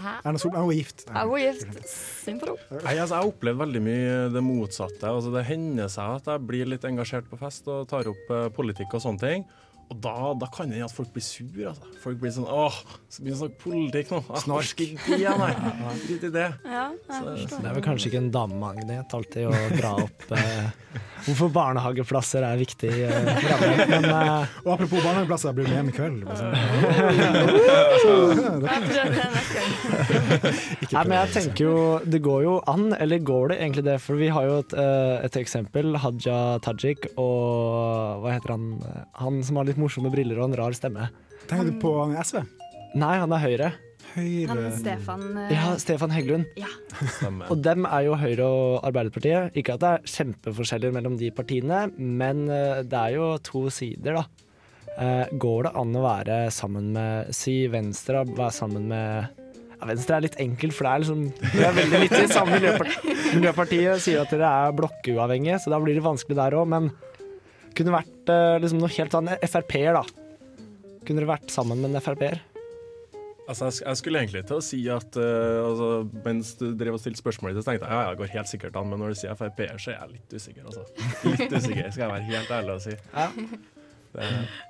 hæ? Erna Solberg hun er gift. Jeg er jo gift. Synd for henne. Nei, altså, jeg har opplevd veldig mye det motsatte. Altså, det hender seg at jeg blir litt engasjert på fest og tar opp eh, politikk og sånne ting. Og da, da kan det hende at folk blir sure. Altså. Folk blir sånn åh, skal begynne å snakke politikk nå. Jeg Snork. orker ikke det, nei. Drit i det. Ja, jeg Så- forstår. Det er vel kanskje ikke en damemagnet alltid å dra opp eh, hvorfor barnehageplasser er viktig. Eh, for alle, men eh, Og apropos barnehageplasser, blir du med hjem i kveld? liksom. Jeg prøver det neste gang. Nei, men jeg tenker jo, Det går jo an, eller går det egentlig det? For vi har jo et, eh, et eksempel. Haja Tajik og hva heter han Han som har litt morsomme briller og en rar stemme. Tenker du på han i SV? Nei, han er Høyre. Høyre eh, Ja, Stefan Heggelund. Og dem er jo Høyre og Arbeiderpartiet. Ikke at det er kjempeforskjeller mellom de partiene, men eh, det er jo to sider, da. Eh, Går det an å være sammen med Si Venstre, da, være sammen med ja, Venstre er litt enkelt, for det er liksom Det er veldig litt i samme miljøparti. Miljøpartiet sier at dere er blokkuavhengige, så da blir det vanskelig der òg, men kunne vært eh, liksom noe helt annet. Frp-er, da. Kunne dere vært sammen med en Frp-er? Altså, jeg, sk- jeg skulle egentlig til å si at eh, altså, mens du drev og stilte spørsmål, så tenkte jeg ja, ja, det går helt sikkert an, men når du sier Frp-er, så er jeg litt usikker, altså. Litt usikker, skal jeg være helt ærlig og si. Det,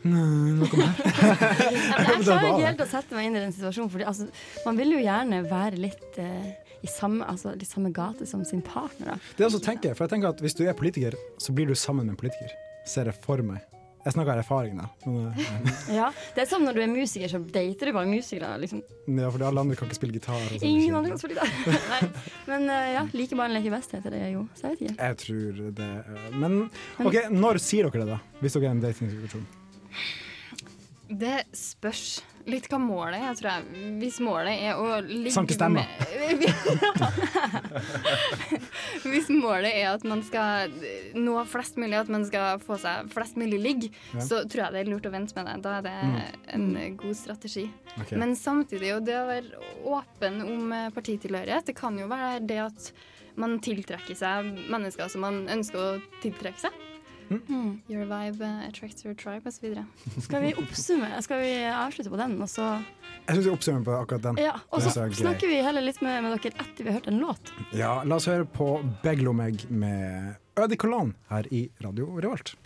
Ja, men Jeg klarer ikke helt å sette meg inn i den situasjonen, for altså, man vil jo gjerne være litt eh, i samme, altså, litt samme gate som sin partner. Da. Det er også tenker jeg, for jeg tenker at Hvis du er politiker, så blir du sammen med en politiker. Ser jeg for meg. Jeg snakker av erfaring, da. Men, eh, Ja, det er som når du er musiker, så dater du bare musikere. Liksom. ja, fordi alle andre kan ikke spille gitar. Og sånne Ingen ting. andre kan spille gitar. Nei. Men eh, ja, like barn leker best, heter det jo. Så jeg vet ikke. Jeg tror det eh, Men OK, når sier dere det, da? Hvis dere er i en datingsituasjon? Det spørs litt hva målet er, tror jeg. Hvis målet er å ligge Sanke stemmer. med- Hvis målet er at man skal nå flest mulig, at man skal få seg flest mulig ligg, Ja. Mm. så tror jeg det er lurt å vente med det. Da er det en god strategi. Ok. Men samtidig, og det å være åpen om eh, partitilhørighet, det kan jo være det at man tiltrekker seg mennesker som man ønsker å tiltrekke seg. Mm. Your vibe eh, attracts your tribe, osv. Skal vi oppsummere? Skal vi avslutte på den, og så Jeg syns vi oppsummerer på akkurat den. Ja, og Det så synes jeg er grei. snakker vi heller litt med, med dere etter vi har hørt en låt. Ja, la oss høre på Beglomeg med Ødi Colon her i Radio Revolt.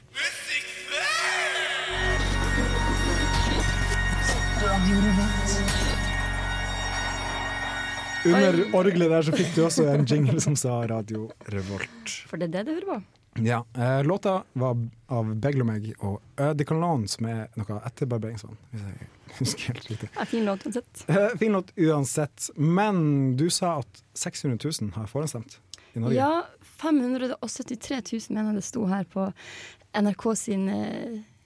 Under orgelet der så fikk du også en jingle som sa Radio Revolt. For det er det du hører på. Ja, eh, Låta var av Beglomeg og Ødi Colon, som er noe etterbarberingsvann. Hvis jeg husker helt riktig. Ja, fin låt uansett. Eh, Fin låt uansett, men du sa at 600 000 har forhåndsstemt i Norge. Ja, 573 000 mener jeg det sto her på NRK sine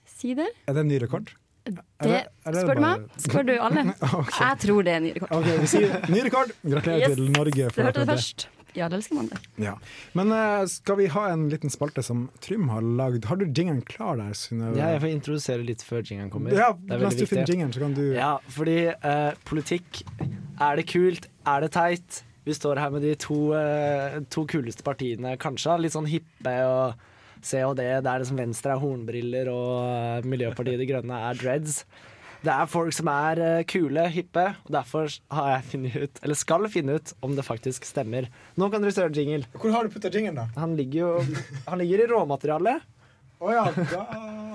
sider. Er det en ny rekord? Det, spør du meg? Spør du alle? Jeg tror det er ny rekord. Ok, vi sier ny rekord. Gratulerer Yes. til Norge. Du hørte det akkurat først. Ja, det elsker man det. Ja. Men eh, skal vi ha en liten spalte som Trym har lagd? Har du jingeren klar der, Synnøve? Ja, jeg får introdusere litt før jingeren kommer. Ja, Det er mens veldig du finner viktig. jingeren, så kan du Ja, fordi eh, politikk Er det kult? Er det teit? Vi står her med de to, eh, to kuleste partiene, kanskje. Litt sånn hippe og COD. Det er liksom Venstre er hornbriller, og eh, Miljøpartiet De Grønne er dreads. Det er folk som er eh, kule, hippe, og derfor har jeg funnet ut, eller skal finne ut, om det faktisk stemmer. Nå kan dere høre jingle. Hvor har du putta jingelen, da? Han ligger jo Han ligger i råmaterialet. Å ja, da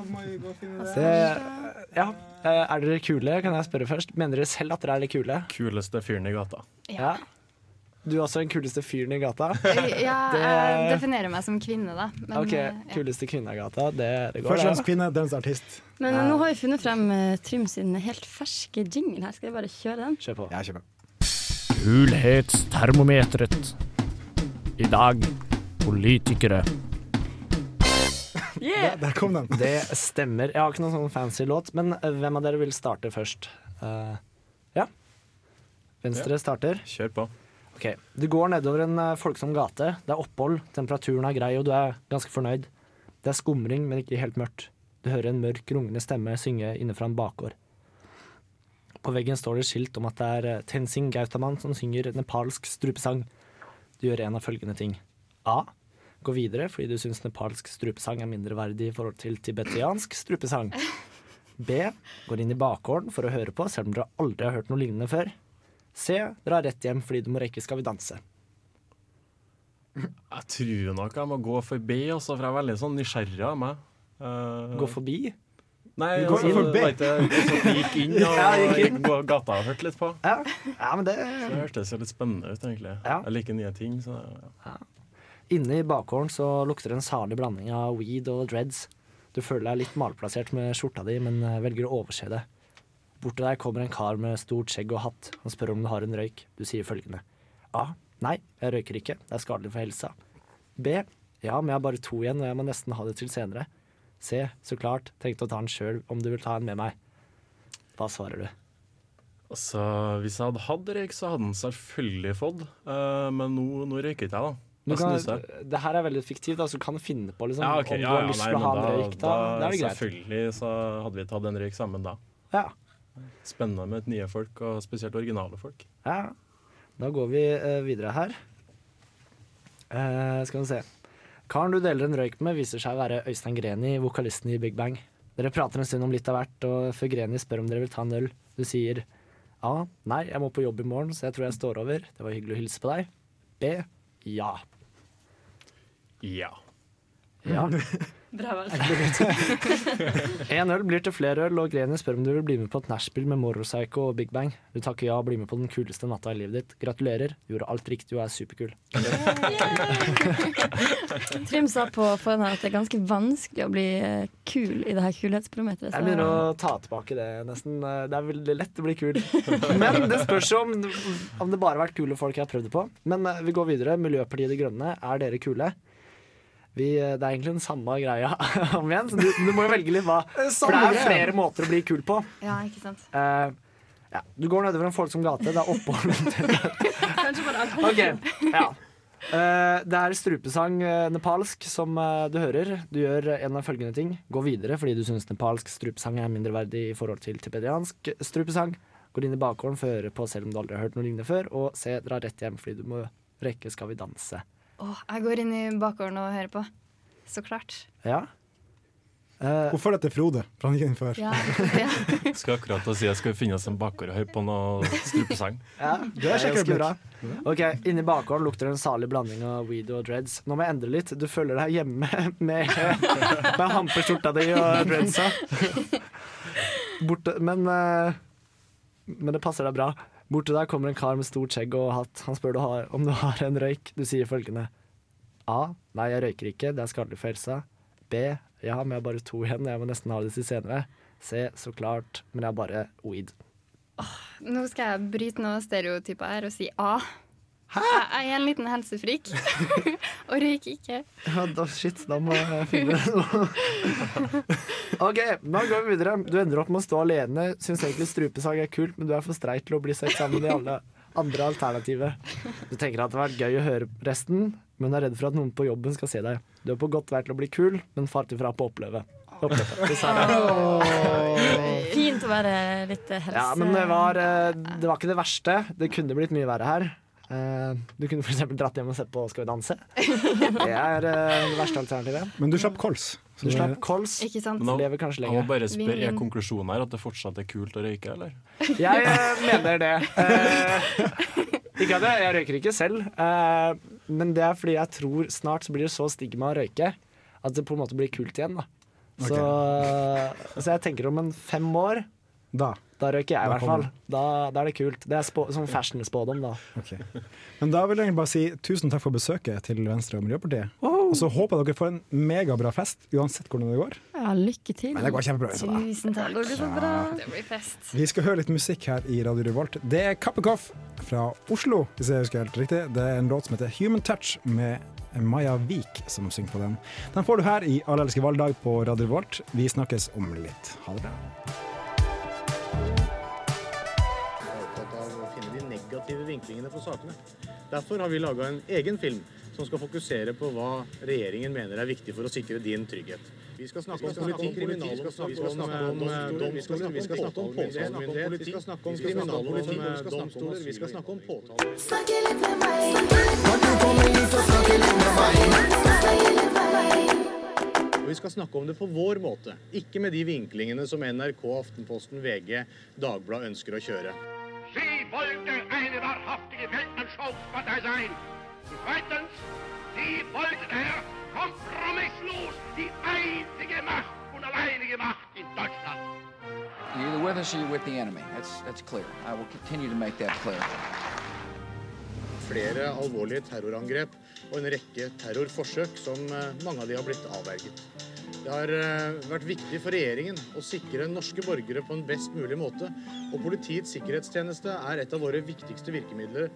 må vi gå og finne Det, ja. Eh, Er dere kule, kan jeg spørre først? Mener dere selv at dere er litt kule? Kuleste fyren i gata. Ja. Du er også den kuleste fyren i gata. Ja, jeg definerer meg som kvinne, da. Men, OK, eh, kuleste kvinne i gata. Det, det går, Først og det. fremst kvinne, dens artist. Men nå har vi funnet frem eh, Trym sin helt ferske jingle her. Skal jeg bare kjøre den? Kjør på. Kulhetstermometeret. I dag politikere. Yeah! Der kom den. Det stemmer. Jeg har ikke noen sånn fancy låt, men eh, hvem av dere vil starte først? Eh, ja. Venstre starter. Kjør på. OK. Du går nedover en eh, folksom gate. Det er opphold, temperaturen er grei, og du er ganske fornøyd. Det er skumring, men ikke helt mørkt. Du hører en mørk, rungende stemme synge innenfra en bakgård. På veggen står det skilt om at det er eh, Tenzing Gautaman som synger nepalsk strupesang. Du gjør en av følgende ting. A. Gå videre fordi du syns nepalsk strupesang er mindreverdig i forhold til tibetiansk strupesang. B. Går inn i bakgården for å høre på, selv om dere aldri har hørt noe lignende før. C. Dra rett hjem fordi du må rekke Skal vi danse. Jeg tror nok jeg må gå forbi, altså, for jeg er veldig sånn nysgjerrig av meg. Eh, Gå forbi? Nei, Du går altså, det forbi? var ikke altså, jeg gikk inn og Ja, jeg gikk inn. gå gata og hørte litt på. Ja, men det... Så det hørtes jo litt spennende ut, egentlig. Jeg liker nye ting, så ja. Inne i bakgården så lukter det en salig blanding av weed og dreads. Du føler deg litt malplassert med skjorta di, men eh, velger å overse det. Bort til deg kommer en kar med stort skjegg og hatt. Han spør om du har en røyk. Du sier følgende. A. Nei, jeg røyker ikke. Det er skadelig for helsa. B. Ja, men jeg har bare to igjen, og jeg må nesten ha det til senere. C. Så klart. Tenkte å ta den sjøl om du vil ta en med meg. Hva svarer du? Altså, hvis jeg hadde hatt røyk, så hadde den selvfølgelig fått. Eh, men nå, nå røyker ikke jeg, da. Du Jeg kan, snuser. det her er veldig fiktivt, da, så du kan finne på liksom, Ja, ok, om du ja, har ja, lyst nei, til å men ha en røyk. Da, da er det greit. Selvfølgelig så hadde vi tatt en røyk sammen da. Ja. Spennende med nye folk, og spesielt originale folk. Ja. Da går vi eh, videre her. Eh, skal vi se. Karen du deler en røyk med, viser seg å være Øystein Greni, vokalisten i Big Bang. Dere prater en stund om litt av hvert, og før Greni spør om dere vil ta en øl, du sier A. Nei, jeg må på jobb i morgen, så jeg tror jeg står over. Det var hyggelig å hilse på deg. B. Ja. Ja. Ja. Bra valg. En øl blir til flere øl, og Greni spør om du vil bli med på et nachspiel med Motorpsycho og Big Bang. Du takker ja og blir med på den kuleste natta i livet ditt. Gratulerer, du gjorde alt riktig og er superkul. Trym sa på forhånd her at det er ganske vanskelig å bli eh, kul i det her kulhetsbarometeret. så- Jeg begynner å ta tilbake det nesten. Eh, Det er veldig lett å bli kul. Men det spørs jo om, om det bare har vært kule folk jeg har prøvd det på. Men eh, vi går videre. Miljøpartiet De Grønne, er dere kule? Vi, eh, det er egentlig den samme greia om igjen, så du, du må jo velge litt hva. For det Samme er greia. flere måter å bli kul på. Ja, ikke sant. Eh, ja. Du går nedover en folksom gate. Det er opphold Kanskje bare alt. Ok, ja. Eh, det er strupesang eh, nepalsk som eh, du hører. Du gjør en av følgende ting. Gå videre fordi du syns nepalsk strupesang er mindreverdig i forhold til tibetiansk strupesang. Går inn i bakgården for å høre på selv om du aldri har hørt noe lignende før. Og se, dra rett hjem fordi du må rekke Skal vi danse. Åh, jeg går inn i bakgården og hører på. Så klart. Ja. Eh. Hun følger etter Frode, for han gikk inn før. Skal akkurat til å si jeg skal finne oss en bakgård og høre på noe strupesang. Ja, Det er kjekkere ganske bra. blikk. Ok, Inni bakgården lukter det en salig blanding av weed og dreads. Nå må jeg endre litt. Du føler deg hjemme med, med hampeskjorta di og dreadsa. Borte, men, eh, men det passer deg bra. Bort til deg kommer en kar med stort skjegg og hatt. Han spør du har, om du har en røyk. Du sier følgende. A. Nei, jeg røyker ikke. Det er skadelig for helsa. B. Ja, men jeg har bare to igjen. Jeg må nesten ha det til senere. C. Så klart. Men jeg har bare weed. Nå skal jeg bryte noen stereotyper her og si A. Jeg jeg er en liten helsefrik og røyker ikke. Ja, da, shit, da må jeg finne noe. OK, da går vi videre. Du ender opp med å stå alene. Syns egentlig strupesag er kult, men du er for streit til å bli sett sammen i alle andre alternativer. Du tenker at det har vært gøy å høre resten, men er redd for at noen på jobben skal se deg. Du er på godt vei til å bli kul, men farlig fra på å oppleve. oppleve. Dessverre. Fint å være litt eh, helse... Ja, men det var, eh, det var ikke det verste. Det kunne blitt mye verre her. Eh, Du kunne f.eks. dratt hjem og sett på Skal vi danse. Det er eh, det verste alternativet. Men du slapp kols. Du slapp kols. Ikke sant? Men Lever kanskje jeg må lenger. bare spørre, Er Vinn-vinn. konklusjonen her at det fortsatt er kult å røyke, eller? Jeg eh, mener det. Eh, ikke at jeg, jeg røyker ikke selv, eh, men det er fordi jeg tror snart så blir det så stigma å røyke at det på en måte blir kult igjen. da. Så, eh, så jeg tenker om en fem år Da. da røyker jeg i Da hvert kommer fall. Da, da er det kult. Det er spå, sånn fashion-spådom, da. Men da vil jeg egentlig bare si tusen takk for besøket til Venstre og Miljøpartiet. Og så håper jeg dere får en megabra fest, uansett hvordan det går. Ja, lykke til. Men det går kjempebra, Isabel. altså. Tusen takk. Går det så bra? Det blir fest. Vi skal høre litt musikk her i Radio Revolt. Det er Kappekoff fra Oslo, hvis jeg husker helt riktig. Det er en låt som heter Human Touch, med Maja Vik som synger på den. Den får du her i Allelske valgdag på Radio Revolt. Vi snakkes om litt. Ha det bra. å finne de negative vinklingene på sakene. Derfor har vi laga en egen film som skal fokusere på hva regjeringen mener er viktig for å sikre din trygghet. Vi skal snakke om politi, kriminalomsorg, vi skal snakke om eh, domstoler, vi skal snakke om påtalemyndighet, vi skal snakke om kriminalpoliti, vi skal snakke om domstoler, vi skal snakke om påtalemyndighet. Og vi skal snakke om det på vår måte, ikke med de vinklingene som NRK, Aftenposten, VG, Dagbladet ønsker å kjøre. Sie wollte eine wahrhaftige Weltanschauungspartei sein. Und zweitens, sie wollte daher kompromisslos die einzige Macht und alleinige Macht in Deutschland. You're with us or you're with the enemy. That's, that's clear. I will continue to make that clear. Flere alvorlige terrorangrep og en rekke terrorforsøk som eh, mange av de har blitt avverget. Det har eh, vært viktig for regjeringen å sikre norske borgere på en best mulig måte, og Politiets sikkerhetstjeneste er et av våre viktigste virkemidler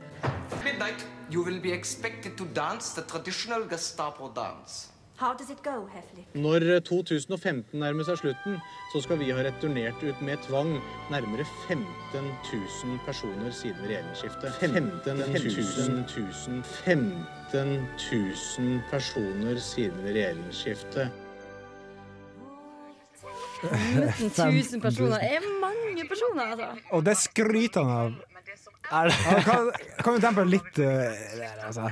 Midnight, you will be expected to dance the traditional Gestapo dance. How does it go, Heffley? Når 2015 nærmer seg slutten, så skal vi ha returnert ut med tvang nærmere 15 000 personer siden regjeringsskiftet. 15 000, 000, 15 000 personer siden regjeringsskiftet. 1000 personer Det er mange personer, altså. Og det skryter han av. Ja, Kan, kan du dempe litt eh, der, altså?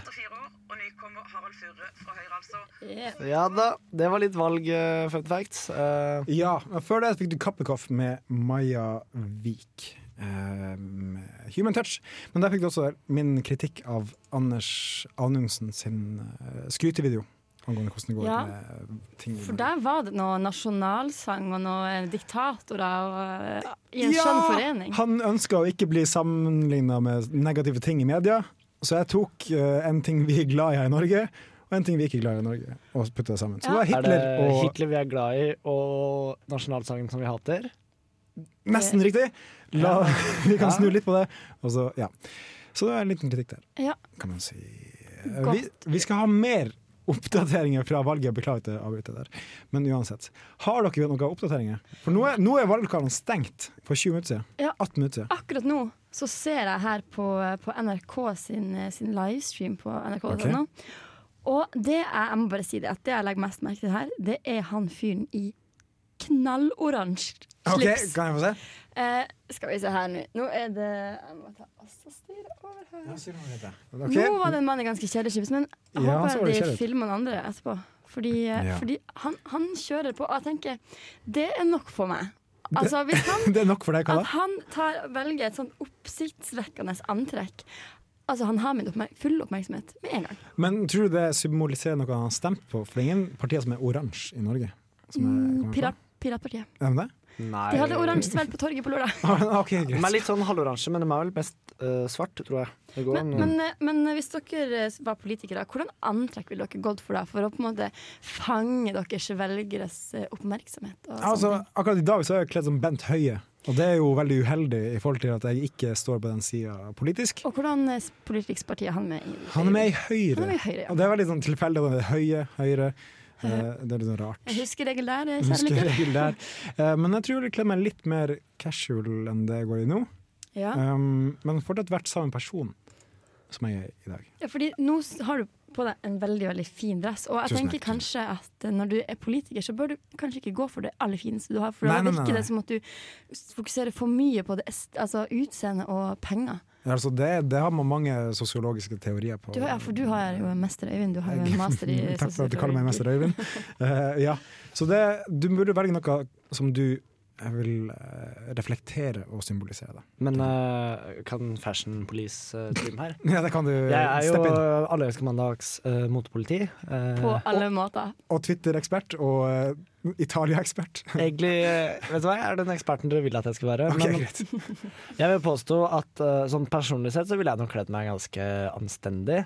Ja da, det var litt valg, eh, fun fact. Eh, Ja, men før det fikk du Kappekoff med Maja Vik. Um, human touch. Men der fikk du også min kritikk av Anders Anundsen sin eh, skrytevideo angående hvordan det går Ja. med ting. For der var det noe nasjonalsang og noen diktatorer og, eh, i en Ja! skjønn forening. Han ønska å ikke bli sammenligna med negative ting i media, så jeg tok eh, en ting vi er glad i her i Norge, og en ting vi ikke er glad i i Norge, og putta det sammen. Så det var Hitler er det og Hitler vi er glad i, og nasjonalsangen som vi hater? Nesten riktig! La, Ja. vi kan snu litt på det. Og så, ja. så det er en liten kritikk der. Ja. kan man si. Eh, Godt. Vi, vi skal ha mer oppdateringer fra valget. Beklager at jeg avbryter der. Men uansett. Har dere noen oppdateringer? For nå er, nå er valglokalene stengt for 20 minutter siden. Ja. 18 minutter siden. Akkurat nå så ser jeg her på, på NRK sin, sin livestream på NRK. Ok. Og det er, jeg må bare si det, at det jeg legger mest merke til her, det er han fyren i knalloransje OK, Ah, slips. kan jeg få se? Eh, skal vi se her nå. Nå er det Jeg må ta også styre over her. Ok. Nå var det en mann i ganske kjedelig chips, men Ja, jeg så håper var det de kjedelig. filmer den andre etterpå. Fordi, eh, Ja. fordi han, han kjører på, og jeg tenker det er nok for meg. Altså, hvis han, Det er nok for deg, at Kalla. han tar, velger et sånn oppsiktsvekkende antrekk Altså, han har min oppmerk full oppmerksomhet med en gang. Men tror du det symboliserer noe han har stemt på? For det er ingen partier som er oransje i Norge. Som er, Mm, kommer på. pirat, piratpartiet. er de det? De hadde oransje sverd på torget på lørdag. De er litt sånn halvoransje, men de er vel mest eh, svart, tror jeg. Det går Men, an- men, eh, men hvis dere eh, var politikere, hvordan antrekk ville dere gått for da? For å på en måte fange deres velgeres eh, oppmerksomhet? Og Altså, sånne ting? akkurat i dag så er jeg kledd som Bent Høie, og det er jo veldig uheldig i forhold til at jeg ikke står på den sida politisk. sånn. og hvordan eh, politisk parti er han med i? Han er med i Høyre. Han er med i Høyre, ja. Og det er veldig sånn tilfeldig. at han er Høye, Høyre. Eh, Det er litt sånn rart. Jeg husker regel der, eh, kjære Husker lytter. regel der. Eh, Men jeg tror jeg kler meg litt mer casual enn det jeg går i nå. Ja. Um, men fortsatt vært samme person som jeg er i dag. Ja, fordi nå s- har du på deg en veldig veldig fin dress, og jeg Tusen tenker kanskje at eh, når du er politiker, så bør du kanskje ikke gå for det aller fineste du har, for Nei, da nei, nei, virker nei. det som at du s- fokuserer for mye på det est- altså utseende og penger. Ja, Altså det, det har man mange sosiologiske teorier på. Du, har- ja, for du har jo en mester, Øyvind. Du Eh, har jo en master i Takk for at du kaller meg sosiologi. mester Øyvind. Eh, ja. Så det, du burde velge noe som du eh, vil eh, reflektere og symbolisere. Da. Men eh, kan Fashion Police eh, trim her? Ja, det kan du Jeg er jo steppe inn. eh, Allelske mandags eh, motepoliti. eh, På alle måter. Og Twitter-ekspert og eh, Italia-ekspert. Egentlig, eh, vet du hva, jeg er den eksperten dere vil at jeg skal være. Ok, men jeg vil påstå at eh, sånn personlig sett så ville jeg nok kledd meg ganske anstendig.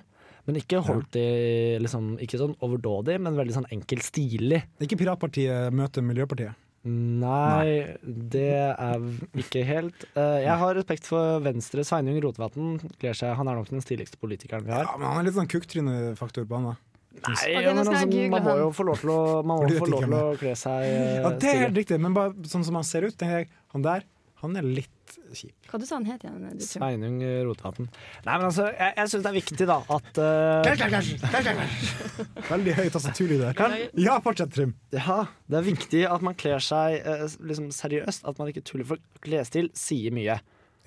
Men ikke holdt i liksom, Ikke sånn overdådig, men veldig sånn enkelt stilig. Ikke Piratpartiet møter Miljøpartiet? Nei, det er ikke helt Eh, Jeg har respekt for Venstre. Sveinung Rotevatn kler seg Han er nok den stiligste politikeren vi har. Ja, men han er litt sånn kukktryne-faktor på han, da. Nei, Ok, ja, nå men skal jeg google altså, man må han. jo få lov til å, For man må du få vet lov ikke til å hvem kle seg eh, Ja, det er stilig. helt riktig, men bare sånn som han ser ut, tenker jeg han der Han er litt kjip. Hva du sa han het igjen? Du, tror? Sveinung eh, Rotevatn. Nei, men altså, jeg, jeg syns det er viktig, da, at eh, Veldig høy tastaturlyd der. Ja, fortsett, Trym. Ja, det er viktig at man kler seg eh, liksom seriøst, at man ikke tuller, for klesstil sier mye.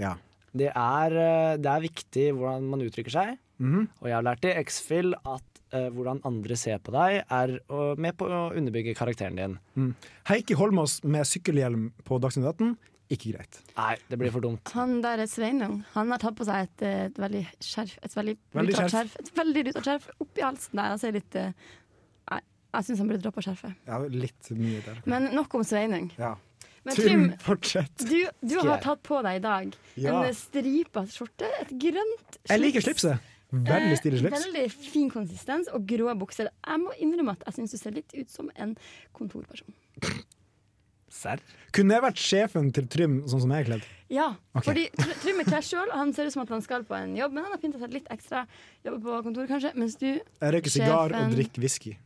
Ja. Det er, eh, det er viktig hvordan man uttrykker seg, Mhm. og jeg har lært i X-Fill at eh, hvordan andre ser på deg, er å- med på å underbygge karakteren din. Mm. Heikki Holmås med sykkelhjelm på Dagsnytt 18, ikke greit. Nei, det blir for dumt. Han der er Sveinung. Han har tatt på seg et, eh, et veldig skjerf. Et veldig, Veldig rutet skjerf. skjerf. Et veldig rutet skjerf oppi halsen der. Han ser litt eh, Nei, jeg syns han burde droppe skjerfet. Ja, litt mye der. Men nok om Sveinung. Ja. Men Trym, Trym, fortsett. Du, du Skal har jeg- tatt på deg i dag Ja. en stripa skjorte. Et grønt slips. Jeg liker slipset. Veldig stilig Eh, slips. veldig fin konsistens og grå bukser. Jeg må innrømme at jeg syns du ser litt ut som en kontorperson. Kunne jeg vært sjefen til Trym sånn som jeg er kledd? Ja, Ok. fordi Tr- Trym er klær sjøl, og han ser ut som at han skal på en jobb, men han har pynta seg litt ekstra. Jobber på kontoret, kanskje. Mens du, Jeg røyker sigar og sjefen- drikker whisky.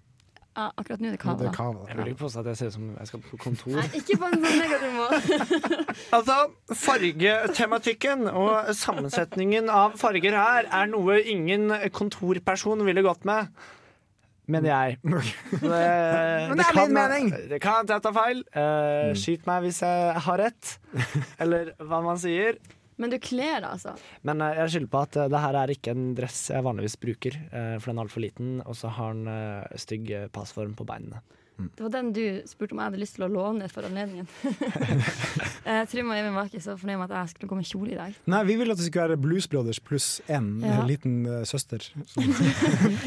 ja, Akkurat nå er det kava. Det er kava. Jeg vil ikke påstå at jeg ser ut som jeg skal på kontor. Nei, ikke på en sånn negativ måte. Altså, fargetematikken og sammensetningen av farger her er noe ingen kontorperson ville gått med. Mener jeg. Det, det er kan- min mening. Det kan hende jeg tar feil. Eh, Skyt meg hvis jeg har rett, eller hva man sier. Men du kler deg, altså. Men eh, jeg skylder på at eh, det her er ikke en dress jeg vanligvis bruker, eh, for den er altfor liten, og så har den eh, stygg eh, passform på beinene. Det var den du spurte om jeg hadde lyst til å låne for anledningen. Eh, Trym og Even var ikke så fornøyd med at jeg skulle gå med kjole i dag. Nei, vi ville at det skulle være Blues Brothers pluss én Ja. eh, liten eh, søster som- i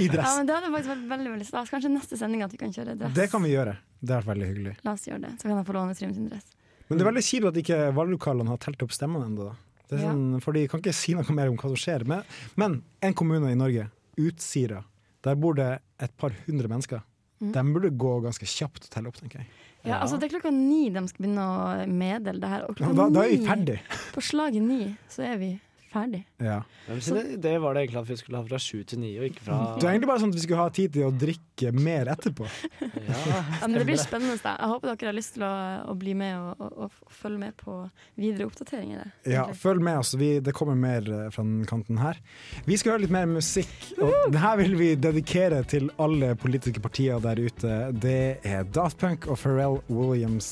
Ja, dress. men Det hadde faktisk vært veldig veldig stas. Kanskje neste sending at vi kan kjøre dress. Det kan vi gjøre. Det er veldig hyggelig. La oss gjøre det, så kan jeg få låne Trym sin dress. Men det er veldig kjipt at ikke valglokalene har telt opp stemmene ennå. Ja. Sånn, for de kan ikke si noe mer om hva som skjer. Men, men en kommune i Norge, Utsira, der bor det et par hundre mennesker. Mm. De burde gå ganske kjapt og telle opp, tenker jeg. Ja, altså Det er klokka ni de skal begynne å meddele det her. Og Ja, klokka da, da er vi ni- ferdig. På slaget ni så er vi ferdig. Ja. Hvem sin idé var det egentlig at vi skulle ha fra sju til ni, og ikke fra Det er egentlig bare sånn at vi skulle ha tid til å drikke mer etterpå. Ja, men det blir spennende. da. Jeg håper dere har lyst til å, å bli med og, og, og f- følge med på videre oppdateringer. Ja, følg med oss. Vi, det kommer mer eh, fra den kanten her. Vi skal høre litt mer musikk, og det her vil vi dedikere til alle politiske partier der ute. Det er Daft Punk og Pharrell Williams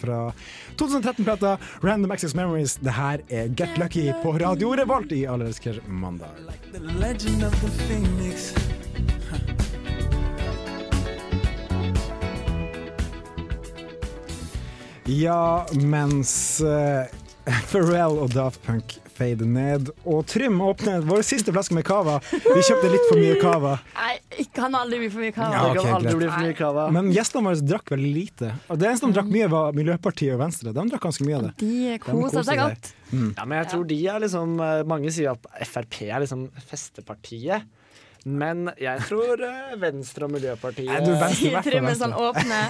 fra 2013-plata Random Access Memories. Det her er Get Lucky på Radio Revolt i Alle elsker mandag. The legend of the phoenix. Ja, mens eh, Pharrell og Daft Punk fader ned, og Trym åpner vår siste flaske med cava. Vi kjøpte litt for mye cava. Nei, ikke kan aldri bli for mye kava. Ja, ok, greit. Men gjestene våre drakk veldig lite. Og det eneste de drakk mye, var Miljøpartiet og Venstre. De drakk ganske mye av det. Mm. De koser seg godt. Mm. Ja, men jeg tror de er liksom eh, Mange sier at Frp er liksom festepartiet. Men jeg tror eh, Venstre og Miljøpartiet Nei, du, Venstre i hvert fall, Trym er sånn åpne.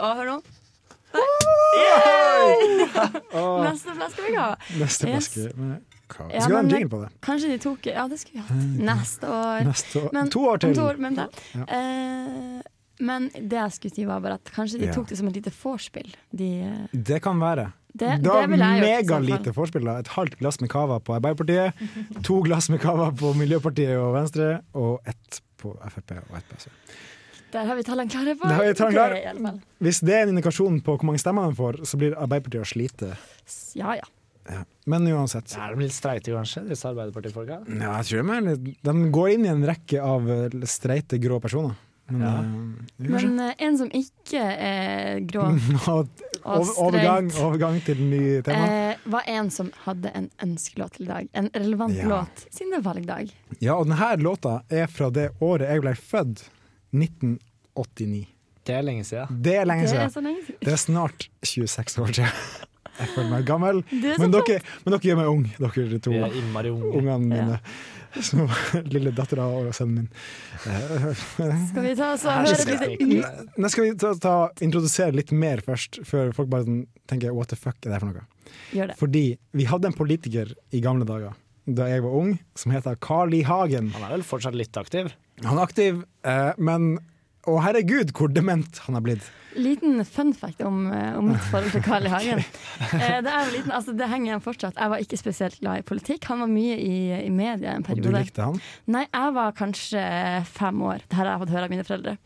Å, hør nå. Neste flaske med kava. Neste Yes. flaske med kava. Ja, Skal vi ha en men- jingle på det? Kanskje de tok Ja, det skulle vi hatt. Neste år. Neste år. Men, To år til. om To år, men, det. Ja. Eh, men det jeg skulle si, var bare at kanskje de Ja. tok det som et lite vorspiel. De, eh, Det kan være. Det- da det ville jeg gjort, i så mega fall. lite vorspiel. da. Et halvt glass med cava på Arbeiderpartiet, to glass med cava på Miljøpartiet og Venstre, og ett på Frp og ett på SV. der har vi tallene klare på. Der har vi tallene klare. Det er i alle fall. Hvis det er en indikasjon på hvor mange stemmer de får, så blir Arbeiderpartiet å slite. Ja, ja. Men uansett. Er de litt streite kanskje, disse Arbeiderpartifolka? Ja, jeg tror de, er litt, de går inn i en rekke av eh, streite, grå personer. Men, Ja. eh, vi får se. Men eh, en som ikke er grå, Og over, overgang, streit. overgang til nye tema. eh, var en som hadde en ønskelåt til i dag. En relevant Ja. låt siden det er valgdag. Ja, og denne låta er fra det året jeg ble født. 1989. Det er lenge siden. Det er lenge Det er så siden. lenge siden. Det er snart 26 år siden. Jeg føler meg gammel, Det er så men dere, men dere gjør meg ung, dere to. Vi er innmari unge. Ungene mine. Så, lille dattera og sønnen min. Eh, Skal vi ta oss og Her høre skal et jeg- lite Nei, Nå skal vi ta, ta, introdusere litt mer først, før folk bare sånn tenker 'what the fuck er det her for noe'? Gjør det. Fordi vi hadde en politiker i gamle dager, da jeg var ung, som heter Carl I. Hagen. Han er vel fortsatt litt aktiv? Han er aktiv, eh, men Å herregud, hvor dement han er blitt. Liten fun fact om, eh, om mitt forhold til Carl I. Hagen. Eh, Det, er jo liten, altså, det henger igjen fortsatt. Jeg var ikke spesielt glad i politikk. Han var mye i, i media en Og periode. du likte han? Nei, jeg var kanskje fem år. Dette har jeg fått høre av mine foreldre.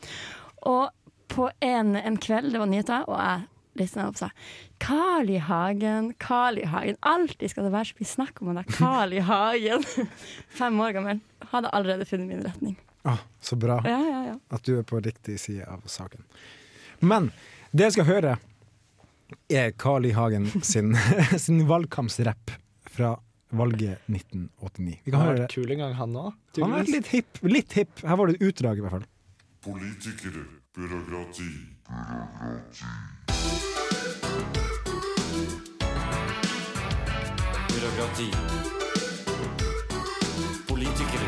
Og på en, en kveld, det var nyheter, og jeg lista opp og sa Carl I. Hagen, Carl I. Hagen. Alltid skal det være så mye snakk om han der Carl I. Hagen. fem år gammel. Hadde allerede funnet min retning. Ah, så bra Ja, ja, ja. at du er på riktig side av saken. Men det jeg skal høre, er Carl I. Hagen sin, sin valgkampsrapp fra valget 1989. Vi kan Han har høre vært kul en gang, han òg. Han er litt hipp. Litt hipp. Her var det et utdrag, i hvert fall. Politikere, byråkrati. Byråkrati. Politikere.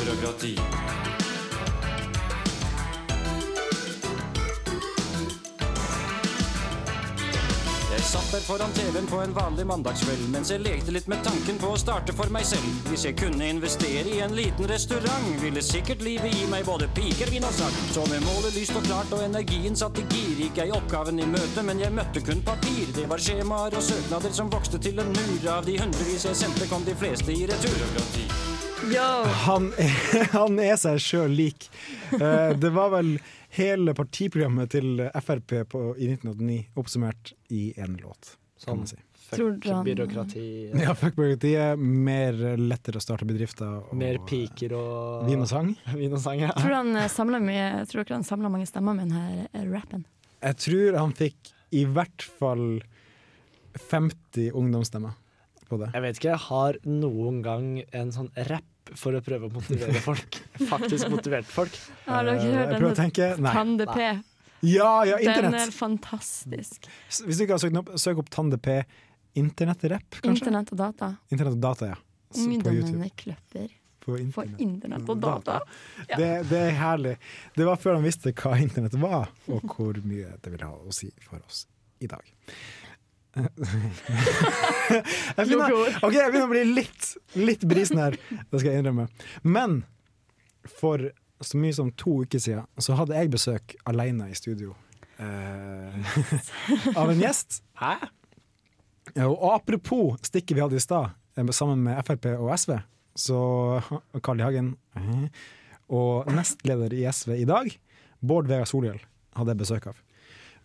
Byråkrati. Jeg satt der foran TV-en på en vanlig mandagskveld mens jeg lekte litt med tanken på å starte for meg selv. Hvis jeg kunne investere i en liten restaurant, ville sikkert livet gi meg både piker, vin og sang. Så med målet lyst og klart og energien satt i gir, gikk jeg oppgaven i møte, men jeg møtte kun papir. Det var skjemaer og søknader som vokste til en mur. Av de hundrevis jeg sendte, kom de fleste i retur. Han er, han er seg sjøl lik. Eh, det var vel hele partiprogrammet til Frp på, i 1989 oppsummert i én låt. Kan man si. Tror du han- byråkrati. Ja, fuck byråkratiet. Mer lettere å starte bedrifter. Og Mer piker og Vin og sang? Vin og sang, ja. Tror, du han eh, samler mye, tror dere han samler mange stemmer med denne eh, rappen? Jeg tror han fikk i hvert fall 50 ungdomsstemmer på det. Jeg vet ikke, jeg har noen gang en sånn rapp for å prøve å motivere folk. Faktisk motivert folk. Har dere Eh, hørt jeg prøver å tenke. Nei. Tande P? Nei. Ja, Den eh, ja, er internett! fantastisk. S- Hvis du ikke har søkt den opp, søk opp Tande P. Internettrapp, kanskje? Internett og data. Internett og data, ja. Så på YouTube. Ungdommene kløpper På på internett. internett og data. Ja. Det, det er herlig. Det var før han visste hva internett var, og hvor mye det ville ha å si for oss i dag. Jeg begynner, ok, jeg begynner å bli litt, litt brisen her, det skal jeg innrømme. Men for så mye som to uker siden så hadde jeg besøk alene i studio eh, av en gjest. Hæ? Og apropos stikket vi hadde i stad, eh, sammen med Frp og SV, så Carl I. Hagen eh, og nestleder i SV i dag, Bård Vegar Solhjell, hadde jeg besøk av.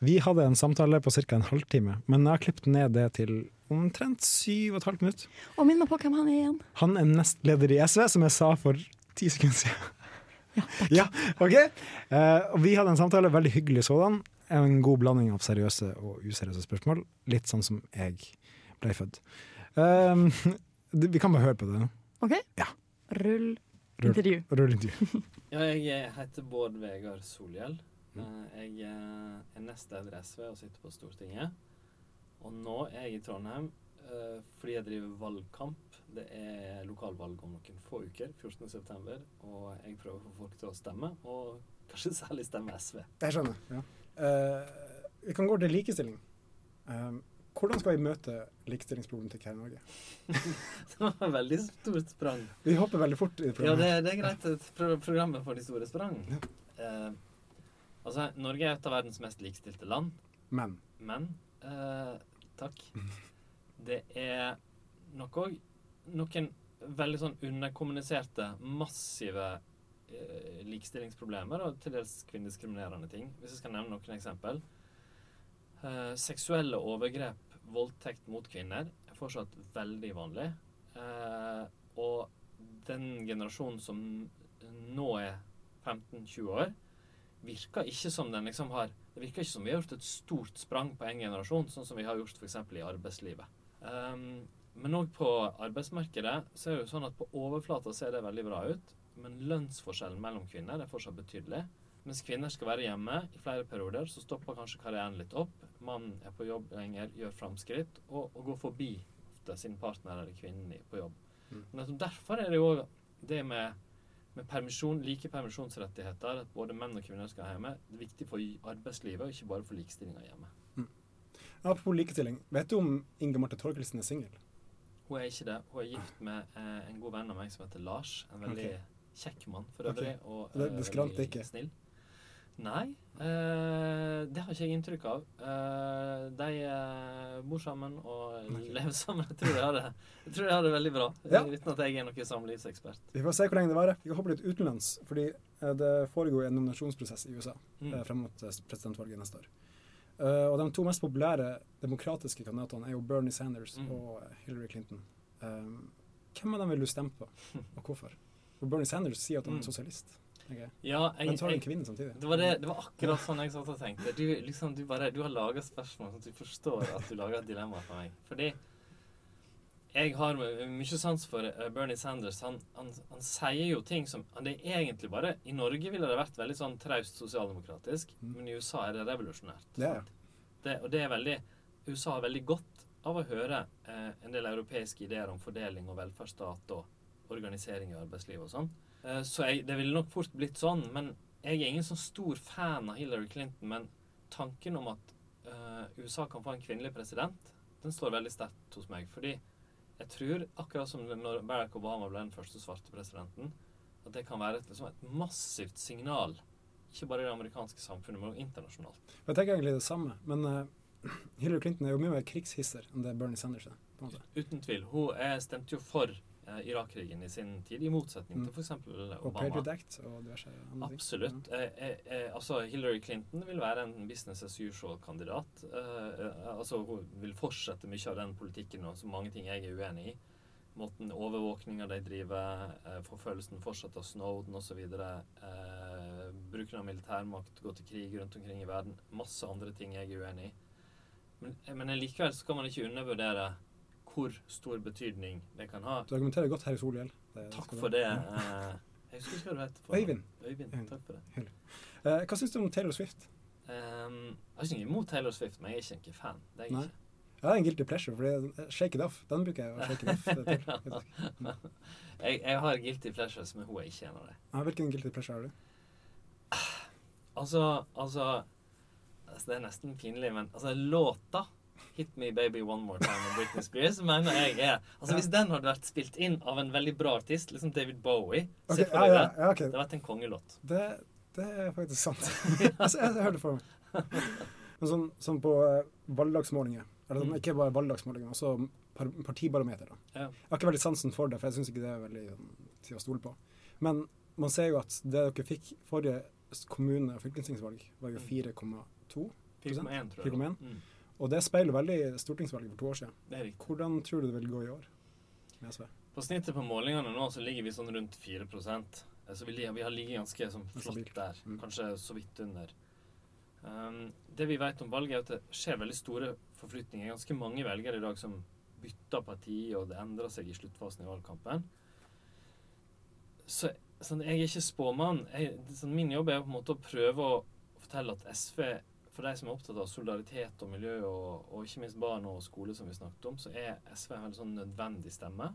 Vi hadde en samtale på ca. en halvtime, men jeg har klippet ned det til omtrent syv og et halvt minutt. Og minn meg på hvem han er igjen. Han er nestleder i SV, som jeg sa for ti sekunder siden. Ja, ok. Eh, og vi hadde en samtale, veldig hyggelig sådan. En god blanding av seriøse og useriøse spørsmål. Litt sånn som jeg ble født. Um, det- vi kan bare høre på det nå. OK? Rull intervju. Rull intervju. Ja, jeg eh, heter Bård Vegar Solhjell. Eh, Jeg eh, er nestleder i SV og sitter på Stortinget. Og nå er jeg i Trondheim eh, fordi jeg driver valgkamp. Det er lokalvalg om noen få uker, 14.9., og jeg prøver å få folk til å stemme, og kanskje særlig stemme SV. Jeg skjønner. Eh, vi kan gå til likestilling. Eh, hvordan skal vi møte likestillingsproblematikk her i Norge? Det var et veldig stort sprang. Vi hopper veldig fort i det Ja, det, programmet. det er greit. Et pro programmet for de store sprang. Eh, altså, Norge er et av verdens mest likestilte land. Men. Men eh, Takk. Det er nok òg noen veldig sånn underkommuniserte, massive eh, likestillingsproblemer og til dels kvinnediskriminerende ting. Hvis jeg skal nevne noen eksempel. Eh, seksuelle overgrep, voldtekt mot kvinner, er fortsatt veldig vanlig. Eh, og den generasjonen som nå er 15-20 år, virker ikke som den liksom har Det virker ikke som vi har gjort et stort sprang på en generasjon, sånn som vi har gjort f.eks. i arbeidslivet. Ehm, men òg på arbeidsmarkedet så er det jo sånn at på overflata ser det veldig bra ut, men lønnsforskjellen mellom kvinner er fortsatt betydelig. Mens kvinner skal være hjemme i flere perioder, så stopper kanskje karrieren litt opp. Mannen er på jobb lenger, gjør framskritt, og, og går forbi ofte sin partner eller kvinnen i- på jobb. Mm. Men nettopp derfor er det jo også det med, med permisjon, like permisjonsrettigheter, at både menn og kvinner skal ha hjemme, det er viktig for arbeidslivet, og ikke bare for likestillinga hjemme. Apropos likestilling, vet du om Inge Marte Torkelsen er singel? Hun er ikke det. Hun er gift med eh, en god venn av meg som heter Lars. En veldig Ok. Kjekk mann for Ok. øvrig. Og Det- eh, det skrante veldig ikke. Snill. Nei, eh, det har ikke jeg inntrykk av. Eh, de eh, bor sammen og lever sammen. Jeg tror de har det, jeg tror de har det veldig bra, Ja. uten at jeg er noen samlivsekspert. Vi får se hvor lenge det varer. Vi kan hoppe litt utenlands, fordi eh, det foregår en nominasjonsprosess i USA Mm. eh, frem mot eh, presidentvalget neste år. Eh, og De to mest populære demokratiske kandidatene er jo Bernie Sanders Mm. og eh, Hillary Clinton. Um, hvem av dem vil du stemme på, og hvorfor? For Bernie Sanders sier at han er Mm. sosialist. tenker jeg. Ja, jeg- Men så har du en jeg- kvinne samtidig. Det var, det, det var akkurat sånn jeg satt og tenkte. Du, liksom, du, bare, du har laga spørsmål sånn at du forstår at du lager et dilemma for meg. Fordi jeg har my- mye sans for eh, Bernie Sanders. Han, han, han sier jo ting som han- Det er egentlig bare I Norge ville det vært veldig sånn traust sosialdemokratisk, Mm. men i USA er det revolusjonært. Det er Det, og det er veldig USA har veldig godt av å høre eh, en del europeiske ideer om fordeling og velferdsstat og organisering i arbeidslivet og sånn. Eh, så jeg, det ville nok fort blitt sånn. Men jeg er ingen sånn stor fan av Hillary Clinton. Men tanken om at eh, USA kan få en kvinnelig president, den står veldig sterkt hos meg. Fordi jeg tror, akkurat som det- når Barack Obama ble den første svarte presidenten, at det kan være et, liksom, et massivt signal. Ikke bare i det amerikanske samfunnet, men også internasjonalt. Jeg tenker egentlig det samme, men eh, Hillary Clinton er jo mye mer krigshisser enn det Bernie Sanders er. på en måte. Uten tvil. Hun eh, stemte jo for eh, Irak-krigen i sin tid, i motsetning til f.eks. Mm. Og Obama. Patriot Act og diverse andre ting. Absolutt. Eh, eh, eh, altså Hillary Clinton vil være en business as usual-kandidat. Eh, eh, altså Hun vil fortsette mye av den politikken og så mange ting jeg er uenig i. Måten overvåkninga de driver, eh, forfølgelsen fortsatt av Snowden osv. Eh, bruken av militærmakt, gå til krig rundt omkring i verden. Masse andre ting jeg er uenig i. Men, eh, men likevel skal man ikke undervurdere hvor stor betydning det kan ha. Du argumenterer godt her i Solhjell. Det Takk skal du ha. for det. eh, Jeg husker ikke hva du heter. for noe. Øyvind. Øyvind, takk for det. Eh, hva syns du om Taylor Swift? Ehm, jeg har ikke noe imot Taylor Swift, men jeg er ikke noen fan. Det er jeg Nei. ikke. Jeg har en guilty pleasure, for det er Shake It Off. Den bruker jeg å shake it off til. faktisk. jeg, jeg har guilty pleasures, men hun er ikke en av dem. Ja, hvilken guilty pleasure har du? Altså, altså, altså Det er nesten pinlig, men altså, låta 'Hit Me Baby One More Time' av Britney Spears mener jeg er Altså, Hvis den hadde vært spilt inn av en veldig bra artist, liksom David Bowie Ok, Se ja, for ja, deg det. ja, ok. Det hadde vært en kongelåt. Det, det er faktisk sant. altså, jeg, jeg hørte det for meg. Men sånn, sånn på eh, valgdagsmålinger, eller sånn, ikke bare valgdagsmålinger, men også par, partibarometer. Da. Mm. Ja. Jeg har ikke veldig sansen for det, for jeg syns ikke det er veldig sånn, til å stole på. Men man ser jo at det dere fikk forrige s- kommune- og fylkestingsvalg, var Mm. jo 4,2 4,1 tror jeg. 4,1. Mm. Og det speiler veldig stortingsvalget for to år siden. Det er riktig. Hvordan tror du det vil gå i år med SV? På snittet på målingene nå så ligger vi sånn rundt 4 Eh, Så vi, li- vi har ligget ganske sånn flott der. Kanskje så vidt under. Um, det vi vet om valget, er at det skjer veldig store forflytninger. Ganske mange velgere i dag som bytter parti, og det endrer seg i sluttfasen i valgkampen. Så sånn, jeg er ikke spåmann. Jeg, sånn, min jobb er på en måte å prøve å fortelle at SV, for de som er opptatt av solidaritet og miljø, og, og ikke minst barn og skole, som vi snakket om, så er SV en veldig sånn nødvendig stemme.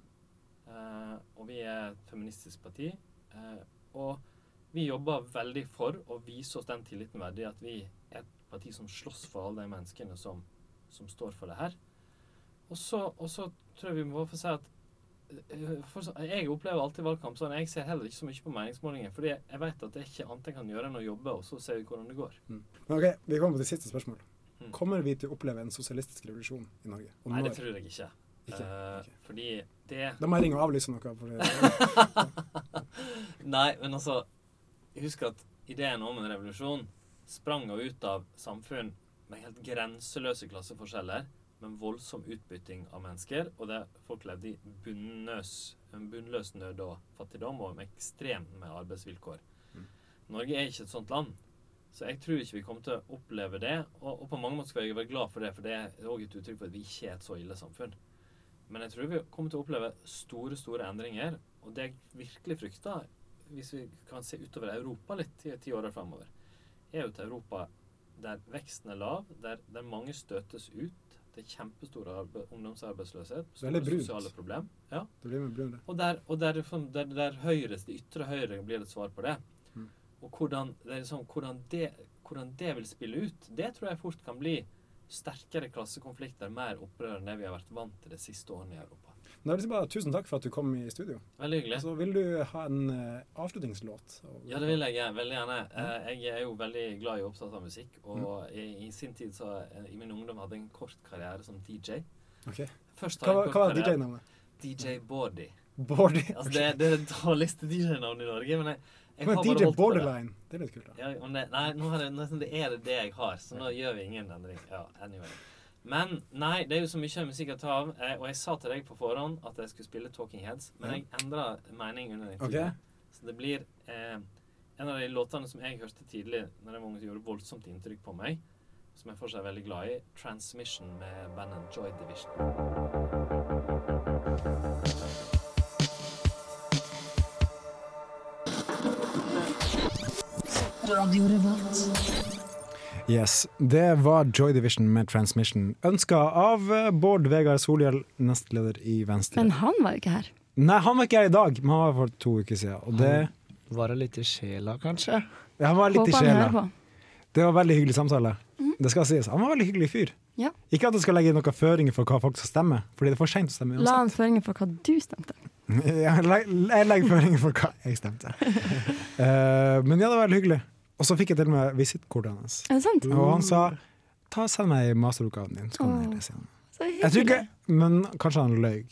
Eh, og vi er et feministisk parti. eh, og vi jobber veldig for å vise oss den tilliten verdig at vi er et parti som slåss for alle de menneskene som, som står for det her. Og så, og så tror jeg vi må få si at eh, for, så- Jeg opplever alltid valgkamp sånn. Jeg ser heller ikke så mye på meningsmålinger. fordi jeg vet at det er ikke annet jeg kan gjøre enn å jobbe, og så ser vi hvordan det går. Men ok, Vi kommer på det siste spørsmålet. Hmm. Kommer vi til å oppleve en sosialistisk revolusjon i Norge? Og Nei, det når? tror jeg ikke. Ikke? Eh, Fordi det Da må jeg ringe og avlyse noe. For det. Nei, men altså Husk at ideen om en revolusjon sprang jo ut av samfunn med helt grenseløse klasseforskjeller, men voldsom utbytting av mennesker, og der folk levde i bunnløs, en bunnløs nød og fattigdom, og med ekstremt med arbeidsvilkår. Norge er ikke et sånt land, så jeg tror ikke vi kommer til å oppleve det, og, og på mange måter skal jeg være glad for det, for det er også et uttrykk for at vi ikke er et så ille samfunn. Men jeg tror vi kommer til å oppleve store, store endringer. Og det jeg virkelig frykter, hvis vi kan se utover Europa litt i ti år framover, er jo et Europa der veksten er lav, der, der mange støtes ut. Det er kjempestor arbe ungdomsarbeidsløshet. Veldig store brunt. sosiale problem. Ja. Det blir med brunere. Og der, og der, liksom- der, der høyres, det ytre høyre blir et svar på det. Mm. Og hvordan det, er liksom, hvordan, det, hvordan det vil spille ut, det tror jeg fort kan bli sterkere klassekonflikter, mer opprør enn det vi har vært vant til de siste årene i Europa. Men da vil jeg si bare tusen takk for at du kom i studio. Veldig hyggelig. Så vil du ha en eh, avslutningslåt? Og- Ja, det vil jeg gjerne, veldig gjerne. Eh, Jeg er jo veldig glad i og opptatt av musikk, Mm. og i, i sin tid, så, eh, i min ungdom, hadde jeg en kort karriere som DJ. Ok. Først Hva var- har jeg en hva kort var karriere- DJ-navnet? DJ Bordy. Bordy, Altså, det, er- det er det dårligste DJ-navnet i Norge, men jeg, jeg Men har bare DJ holdt på det. Borderline, det er litt kult. da. Ja, men det, nei, nå er det, nesten, det er det det jeg har, så nå gjør vi ingen endring. Ja, anyway. Men nei, det er jo så mye musikk å ta av, eh, og jeg sa til deg på forhånd at jeg skulle spille Talking Heads, men jeg endra mening under den tiden. Ok. Så det blir eh, en av de låtene som jeg hørte tidlig, når jeg var ung, som gjorde voldsomt inntrykk på meg, som jeg fortsatt er veldig glad i, 'Transmission' med bandet Joy Division. Yes, Det var Joy Division med 'Transmission', ønska av eh, Bård Vegar Solhjell, nestleder i Venstre. Men han var jo ikke her. Nei, han var ikke her i dag, men han var for to uker siden. Og det, Var det litt i sjela, kanskje? ja, han var litt i Håper han sjela. hører på. Det var veldig hyggelig samtale. Det skal sies. Han var veldig hyggelig fyr. Ja. Ikke at jeg skal legge noen føringer for hva folk skal stemme, fordi det er for seint å stemme La uansett. han føringer for hva du stemte. Jeg legger- jeg legger føringer for hva jeg stemte. Eh, men ja, det var veldig hyggelig. Og så fikk jeg til og med visittkortet hans. Er det sant? Og han sa ta og send meg masteroppgaven din, så kan jeg lese den. Så Jeg tror ikke, hyggelig. men kanskje han løy.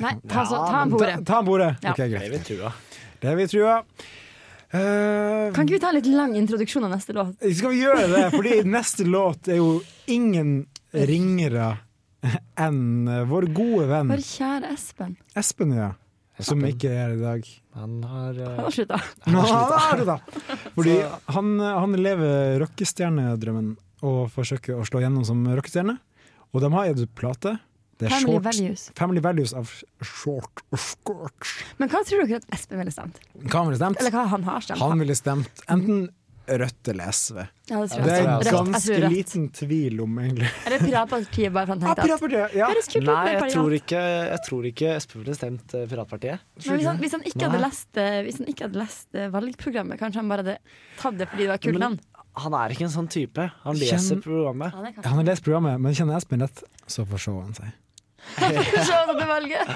Nei, ta, så, ta han men på ordet. Ta, ta han på ordet. Ja. Ok, greit. Det vi trua. Det vi trua. Eh, Kan ikke vi ta en litt lang introduksjon av neste låt? skal vi gjøre det? Fordi neste låt er jo ingen ringere enn vår gode venn Vår kjære Espen. Espen, ja. Som ikke er her i dag. Han har eh, Han har slutta. Nå, han har slutta. Fordi han, han lever rockestjernedrømmen og forsøker å slå gjennom som rockestjerne. Og de har gitt ut plate. Det er Family short- Values. Family Values av Short og Scorch. Men hva tror dere at Espen ville stemt? Hva han ville stemt? Eller hva han har stemt? Han ville stemt enten Rødt eller SV. Ja, det tror jeg. det er Rødt. Jeg tror ganske Rødt. liten tvil om, egentlig. Eller Piratpartiet, bare for han tenkte at Høres kult ut Nei, med jeg pirat. tror ikke, jeg tror ikke Espen ville stemt eh, Piratpartiet. Men hvis han, hvis, han ikke Nei. hadde lest, eh, hvis han ikke hadde lest eh, valgprogrammet, kanskje han bare hadde tatt det fordi det var et kult Men navn? Han er ikke en sånn type. Han leser Kjenn- programmet. Han er kanskje Han har lest programmet, men kjenner Espen rett, så forsover han seg. Se hva det valget!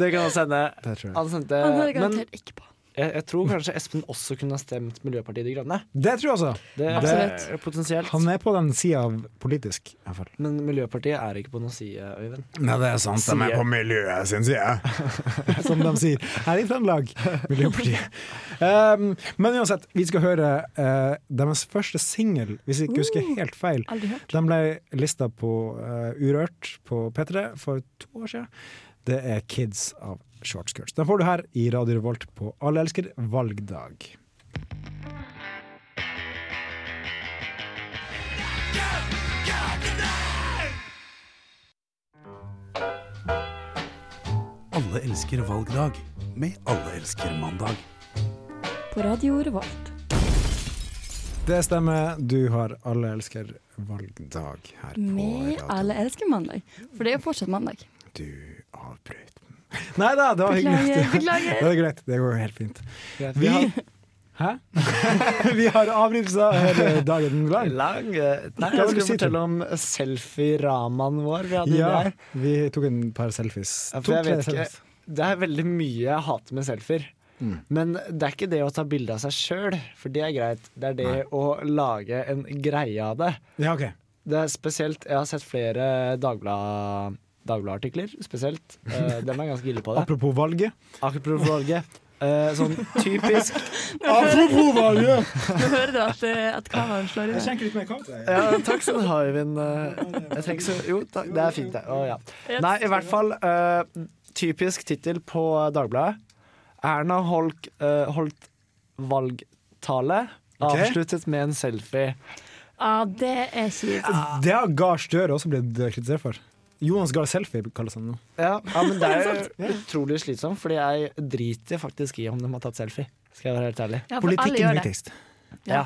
Det kan han sende. Det tror jeg. Han sendte Han hører Eh, Men garantert ikke på. jeg, jeg tror kanskje Espen også kunne ha stemt Miljøpartiet De Grønne. Det tror jeg også. Det, Absolutt. det- potensielt. Han er på den sida av politisk, i hvert fall. Men Miljøpartiet er ikke på noen side, Øyvind. Sier- miljøet sin side. Som de sier her i Trøndelag. Miljøpartiet. Um, men uansett, vi skal høre eh, deres første singel, hvis jeg ikke husker helt feil. Uh, Aldri hørt. Den ble lista på eh, Urørt på P3 for to år siden. Det er Kids av Short Skirts. Den får du her i Radio Revolt på Alle elsker valgdag. Alle elsker valgdag med Alle elsker mandag. På Radio Revolt. Det stemmer, du har Alle elsker valgdag her på Med alle elsker mandag. For det er jo fortsatt mandag. Du avbrøt den. Nei da, det var hyggelig. Beklager, beklager. Det er greit, det går helt fint. Greit, vi Vi har- Hæ? vi har avbrytelser hele dagen lang. Lang, eh, Hva Nei, jeg vil du skulle si til? fortelle om selfie-ramaen vår. Vi hadde Ja, der. vi tok en par selfies. Ja, To, for jeg tre vet ikke, selfies. det er veldig mye jeg hater med selfier. Mm. Men det er ikke det å ta bilde av seg sjøl, for det er greit. Det er det Nei. å lage en greie av det. Ja, ok. Det er spesielt, Jeg har sett flere Dagblad- Dagbladet-artikler, spesielt. Eh, dem er ganske ille på det. Apropos valget. Apropos valget. Eh, sånn typisk Apropos valget! Nå hører du at, eh, at kameraet slår i Jeg vei. skjenker litt mer kaffe. jeg. Ja, takk skal du ha, Øyvind. Eh, Jeg trenger ikke så Jo, takk. Det er fint, det. Å, ja. Nei, i hvert fall eh, Typisk tittel på Dagbladet. Erna holdt, eh, holdt valgtale, Ok. avsluttet med en selfie. Ah, det er kjipt. Ah. Det har Gahr Støre også blitt kritisert for. Jonas Gahr Selfie kalles han nå. Ja, ja men det er jo utrolig slitsomt, fordi jeg driter faktisk i om de har tatt selfie. Skal jeg være helt ærlig. Ja, for alle Politikken gjør det. viktigst. Ja, Ja.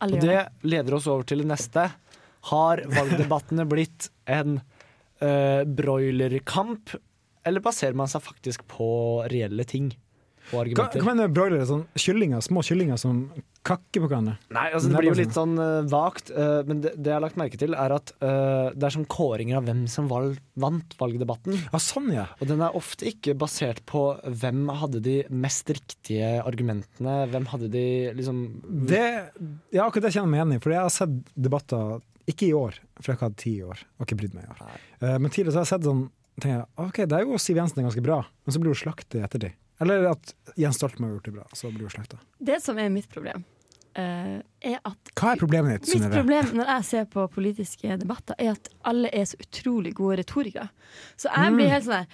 alle gjør Og det leder oss over til det neste. Har valgdebattene blitt en eh, broilerkamp, eller baserer man seg faktisk på reelle ting? Hva, og argumenter. hva mener broilere? Sånn kyllinger, små kyllinger som kakker på hverandre? Nei, altså Det blir jo litt sånn eh, vagt, eh, men det, det jeg har lagt merke til, er at eh, det er sånn kåringer av hvem som val vant valgdebatten. Ja, sånn, ja. Og den er ofte ikke basert på hvem hadde de mest riktige argumentene, hvem hadde de liksom Det, ja, akkurat det kjenner jeg meg igjen i. For jeg har sett debatter, ikke i år, for jeg har ikke hatt tid i år. Og ikke brydd meg i år. Eh, Men tidligere så har jeg sett sånn tenker jeg, OK, der er jo Siv Jensen ganske bra, men så blir hun slaktet i ettertid. Eller at Jens Stoltenberg har gjort det bra, så blir hun slakta. Det som er mitt problem, eh, er at Hva er problemet ditt, Mitt Synnøve? problem når jeg ser på politiske debatter, er at alle er så utrolig gode retorikere. Så jeg blir Mm. helt sånn der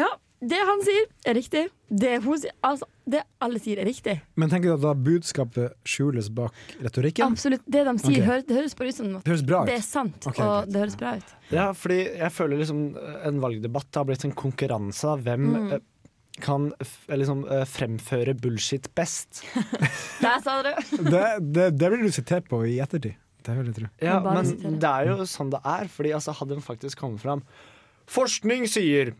Ja, det han sier, er riktig. Det hun sier Altså, det alle sier, er riktig. Men tenker du at da budskapet skjules bak retorikken? Absolutt. Det de sier, Ok. høres, det høres bare ut som at Det høres bra ut. det er sant, Ok, og det høres bra ut. Ja, fordi jeg føler liksom en valgdebatt har blitt en konkurranse. av Hvem Mm. eh, kan f liksom eh, fremføre bullshit best? Der sa du! Det, det, det blir du sitert på i ettertid. Det vil jeg tro. Ja, men det er jo sånn det er, fordi altså hadde den faktisk kommet fram Forskning sier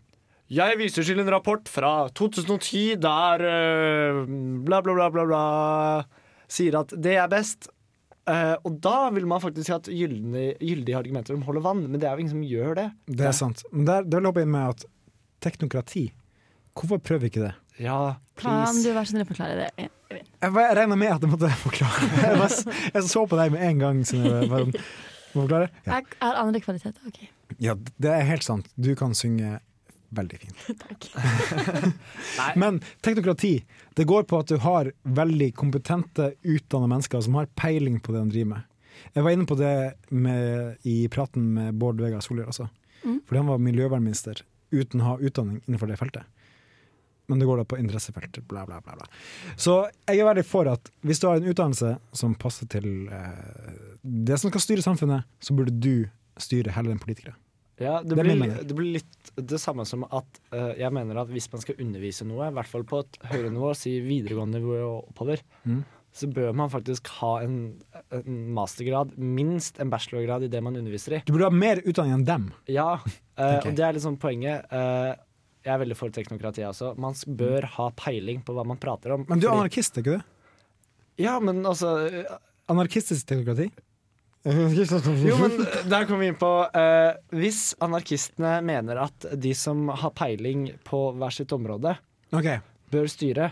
jeg viser til en rapport fra 2010 der øh, bla, bla, bla, bla, bla sier at det er best. Eh, og da vil man faktisk hatt gyldige, gyldige argumenter som holder vann, men det er jo ingen som gjør det. Det er sant. Men der, det vil jeg hoppe inn med at teknokrati Hvorfor prøver vi ikke det? Ja, Kan du være så snill å forklare det? Jeg, var- jeg regna med at jeg måtte forklare. Jeg, var, s- jeg så på deg med en gang. Siden jeg var, må forklare? Ja. Jeg har andre kvaliteter. OK. ja, det er helt sant. Du kan synge veldig fint. Men teknokrati det går på at du har veldig kompetente, utdanna mennesker som har peiling på det de driver med. Jeg var inne på det med, i praten med Bård Vegar Solhjell også. Mm. Fordi han var miljøvernminister uten å ha utdanning innenfor det feltet. Men det går da på interessefeltet, bla, bla, bla. bla. Så jeg er veldig for at hvis du har en utdannelse som passer til eh, det som skal styre samfunnet, så burde du styre heller enn politikere. Ja, det, Det er min blir, mening. det blir litt det samme som at eh, jeg mener at hvis man skal undervise noe, i hvert fall på et høyere nivå, si videregående nivå og oppover, Mm. så bør man faktisk ha en, en mastergrad, minst en bachelorgrad i det man underviser i. Du burde ha mer utdanning enn dem. Ja, eh, Ok. og det er liksom poenget. Eh, jeg er veldig for teknokrati også. Man s- bør ha peiling på hva man prater om. Men du er fordi- anarkist, er ikke du? Ja, men altså Anarkistisk teknokrati? Jo, men der kommer vi inn på eh, Hvis anarkistene mener at de som har peiling på hver sitt område, Ok. bør styre,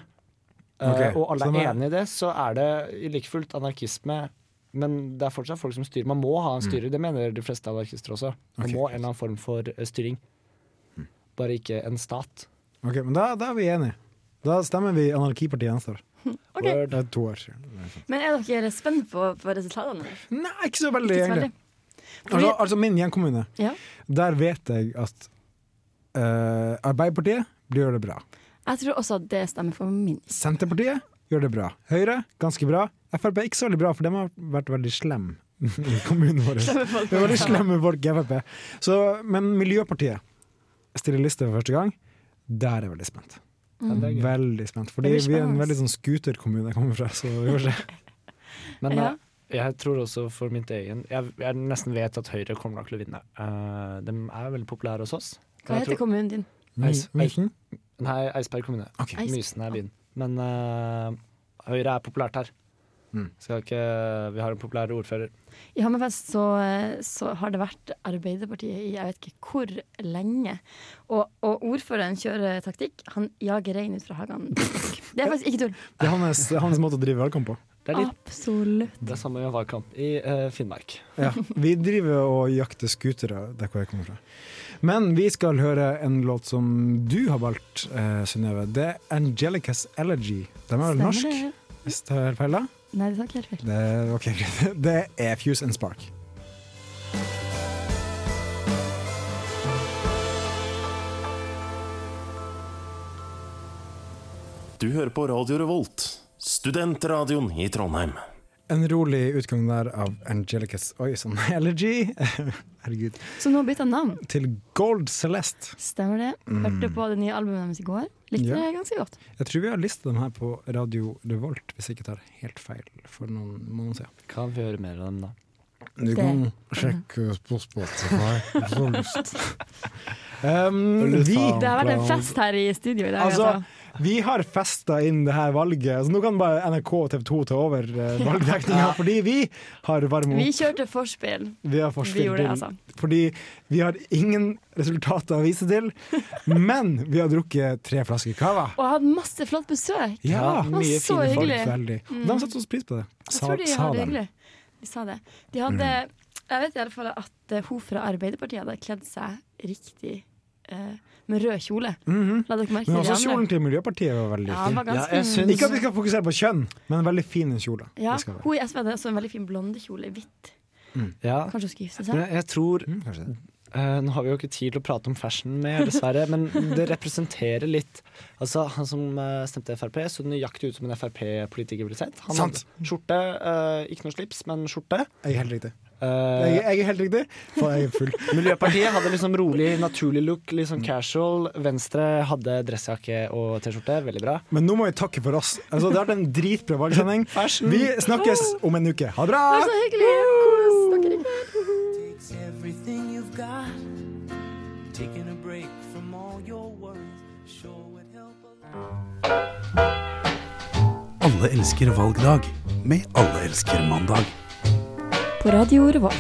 eh, Ok, sånn og så alle er da- enig i det, så er det like fullt anarkisme. Men det er fortsatt folk som styrer. Man må ha en Mm. styrer, det mener de fleste anarkister også. Man Ok, Mm. må en eller annen form for eh, styring. Bare ikke en stat. Ok, men da, da er vi enige. Da stemmer vi Anarkipartiet Venstre. Ok. Det er to år siden. Men er dere spent på, på resultatene? Nei, ikke så veldig, egentlig. Altså, altså min hjemkommune. Ja. Der vet jeg at eh, Arbeiderpartiet gjør det bra. Jeg tror også at det stemmer for min. Senterpartiet gjør det bra. Høyre ganske bra. Frp ikke så veldig bra, for de har vært veldig slem i kommunen vår. Slemme folk. Det er veldig slemme folk i Frp. Så, men Miljøpartiet stiller liste for første gang. Der er jeg veldig spent. Mm. Ja, det er gøy. Veldig spent. Fordi Det blir vi er en spennende. veldig sånn scooterkommune jeg kommer fra. Så vi får se. Men Ja. eh, jeg tror også for mitt egen jeg, jeg nesten vet at Høyre kommer nok til å vinne. Eh, de er veldig populære hos oss. Hva Jeg heter tror- kommunen din? Eis- Mysen? Nei, Eidsberg kommune. Eisberg. Mysen er byen. Men eh, Høyre er populært her. Mm. Skal ikke, vi har en populær ordfører. I Hammerfest så, eh, så har det vært Arbeiderpartiet i jeg vet ikke hvor lenge. Og, og ordføreren kjører taktikk. Han jager rein ut fra hagen. Det er faktisk ikke tull. Det er hans, hans måte å drive valgkamp på. Det er litt Absolutt. det samme med valgkamp i eh, Finnmark. Ja, vi driver og jakter skutere der hvor jeg kommer fra. Men vi skal høre en låt som du har valgt, eh, Synnøve. Det er Angelicas Elegy. Den er Stemmer vel norsk? det? Hvis det er helt feil, da? Nei, det sa ikke helt feil. Det, ok, greit. det er Fuse and Spark. Du hører på Radio Revolt, studentradioen i Trondheim. En rolig utgang der av Angelicas Oi sann, Elegy. Herregud. Så nå bytta han navn. Til Gold Celeste. Stemmer det. Hørte Mm. på det nye albumet deres i går. Likte Ja. det ganske godt. Jeg tror vi har listet dem her på Radio Revolt, hvis jeg ikke tar helt feil, for noen måneder siden. Kan vi høre mer av dem da? Du Det- kan sjekke ut på Spotify hvis du har lyst. Um, Mm. Det har vært en fest her i studio i dag. Altså, Altså, Vi har festa inn det her valget, så nå kan bare NRK og TV 2 ta over eh, valgdekninga, fordi vi har varme Vi opp. kjørte forspill. Vi har forspill Vi gjorde det, til- altså. Fordi vi har ingen resultater å vise til, men vi har drukket tre flasker cava. Og hadde masse flott besøk. Ja, det var så hyggelig. Veldig. Mm. De setter også pris på det. Jeg tror de sa Mm. hadde de. hyggelig. De sa det. De hadde, jeg vet i alle fall at eh, hun fra Arbeiderpartiet hadde kledd seg riktig eh, med rød kjole. Mhm. La dere merke til Men også de andre. kjolen til Miljøpartiet var veldig Ja, den fin. var ganske- Ja, jeg syns- Ikke at vi skal fokusere på kjønn, men en veldig fin kjole. Ja, Det skal være. hun i SV hadde også en veldig fin blondekjole i hvitt. Mm. Ja. Kanskje hun skulle gifte Men seg? jeg, jeg tror Eh, Nå har vi jo ikke tid til å prate om fashion mer, dessverre, men det representerer litt Altså, han som eh, stemte Frp, så nøyaktig ut som en Frp-politiker ble sett. Han Sant. hadde skjorte, eh, ikke noe slips, men skjorte. Jeg er helt riktig. Eh, Jeg, jeg er helt riktig, for jeg er full. Miljøpartiet hadde liksom rolig, naturlig look, litt sånn casual. Venstre hadde dressjakke og T-skjorte, veldig bra. Men nå må vi takke for oss. Altså, det har vært en dritbra valgsending. Vi snakkes om en uke. Ha det bra! Det var så hyggelig! Kos dere i kveld! Takes everything you've got. Taking a break from all your worries sure would help a Alle elsker valgdag med Alle elsker mandag. På Radio Revolt.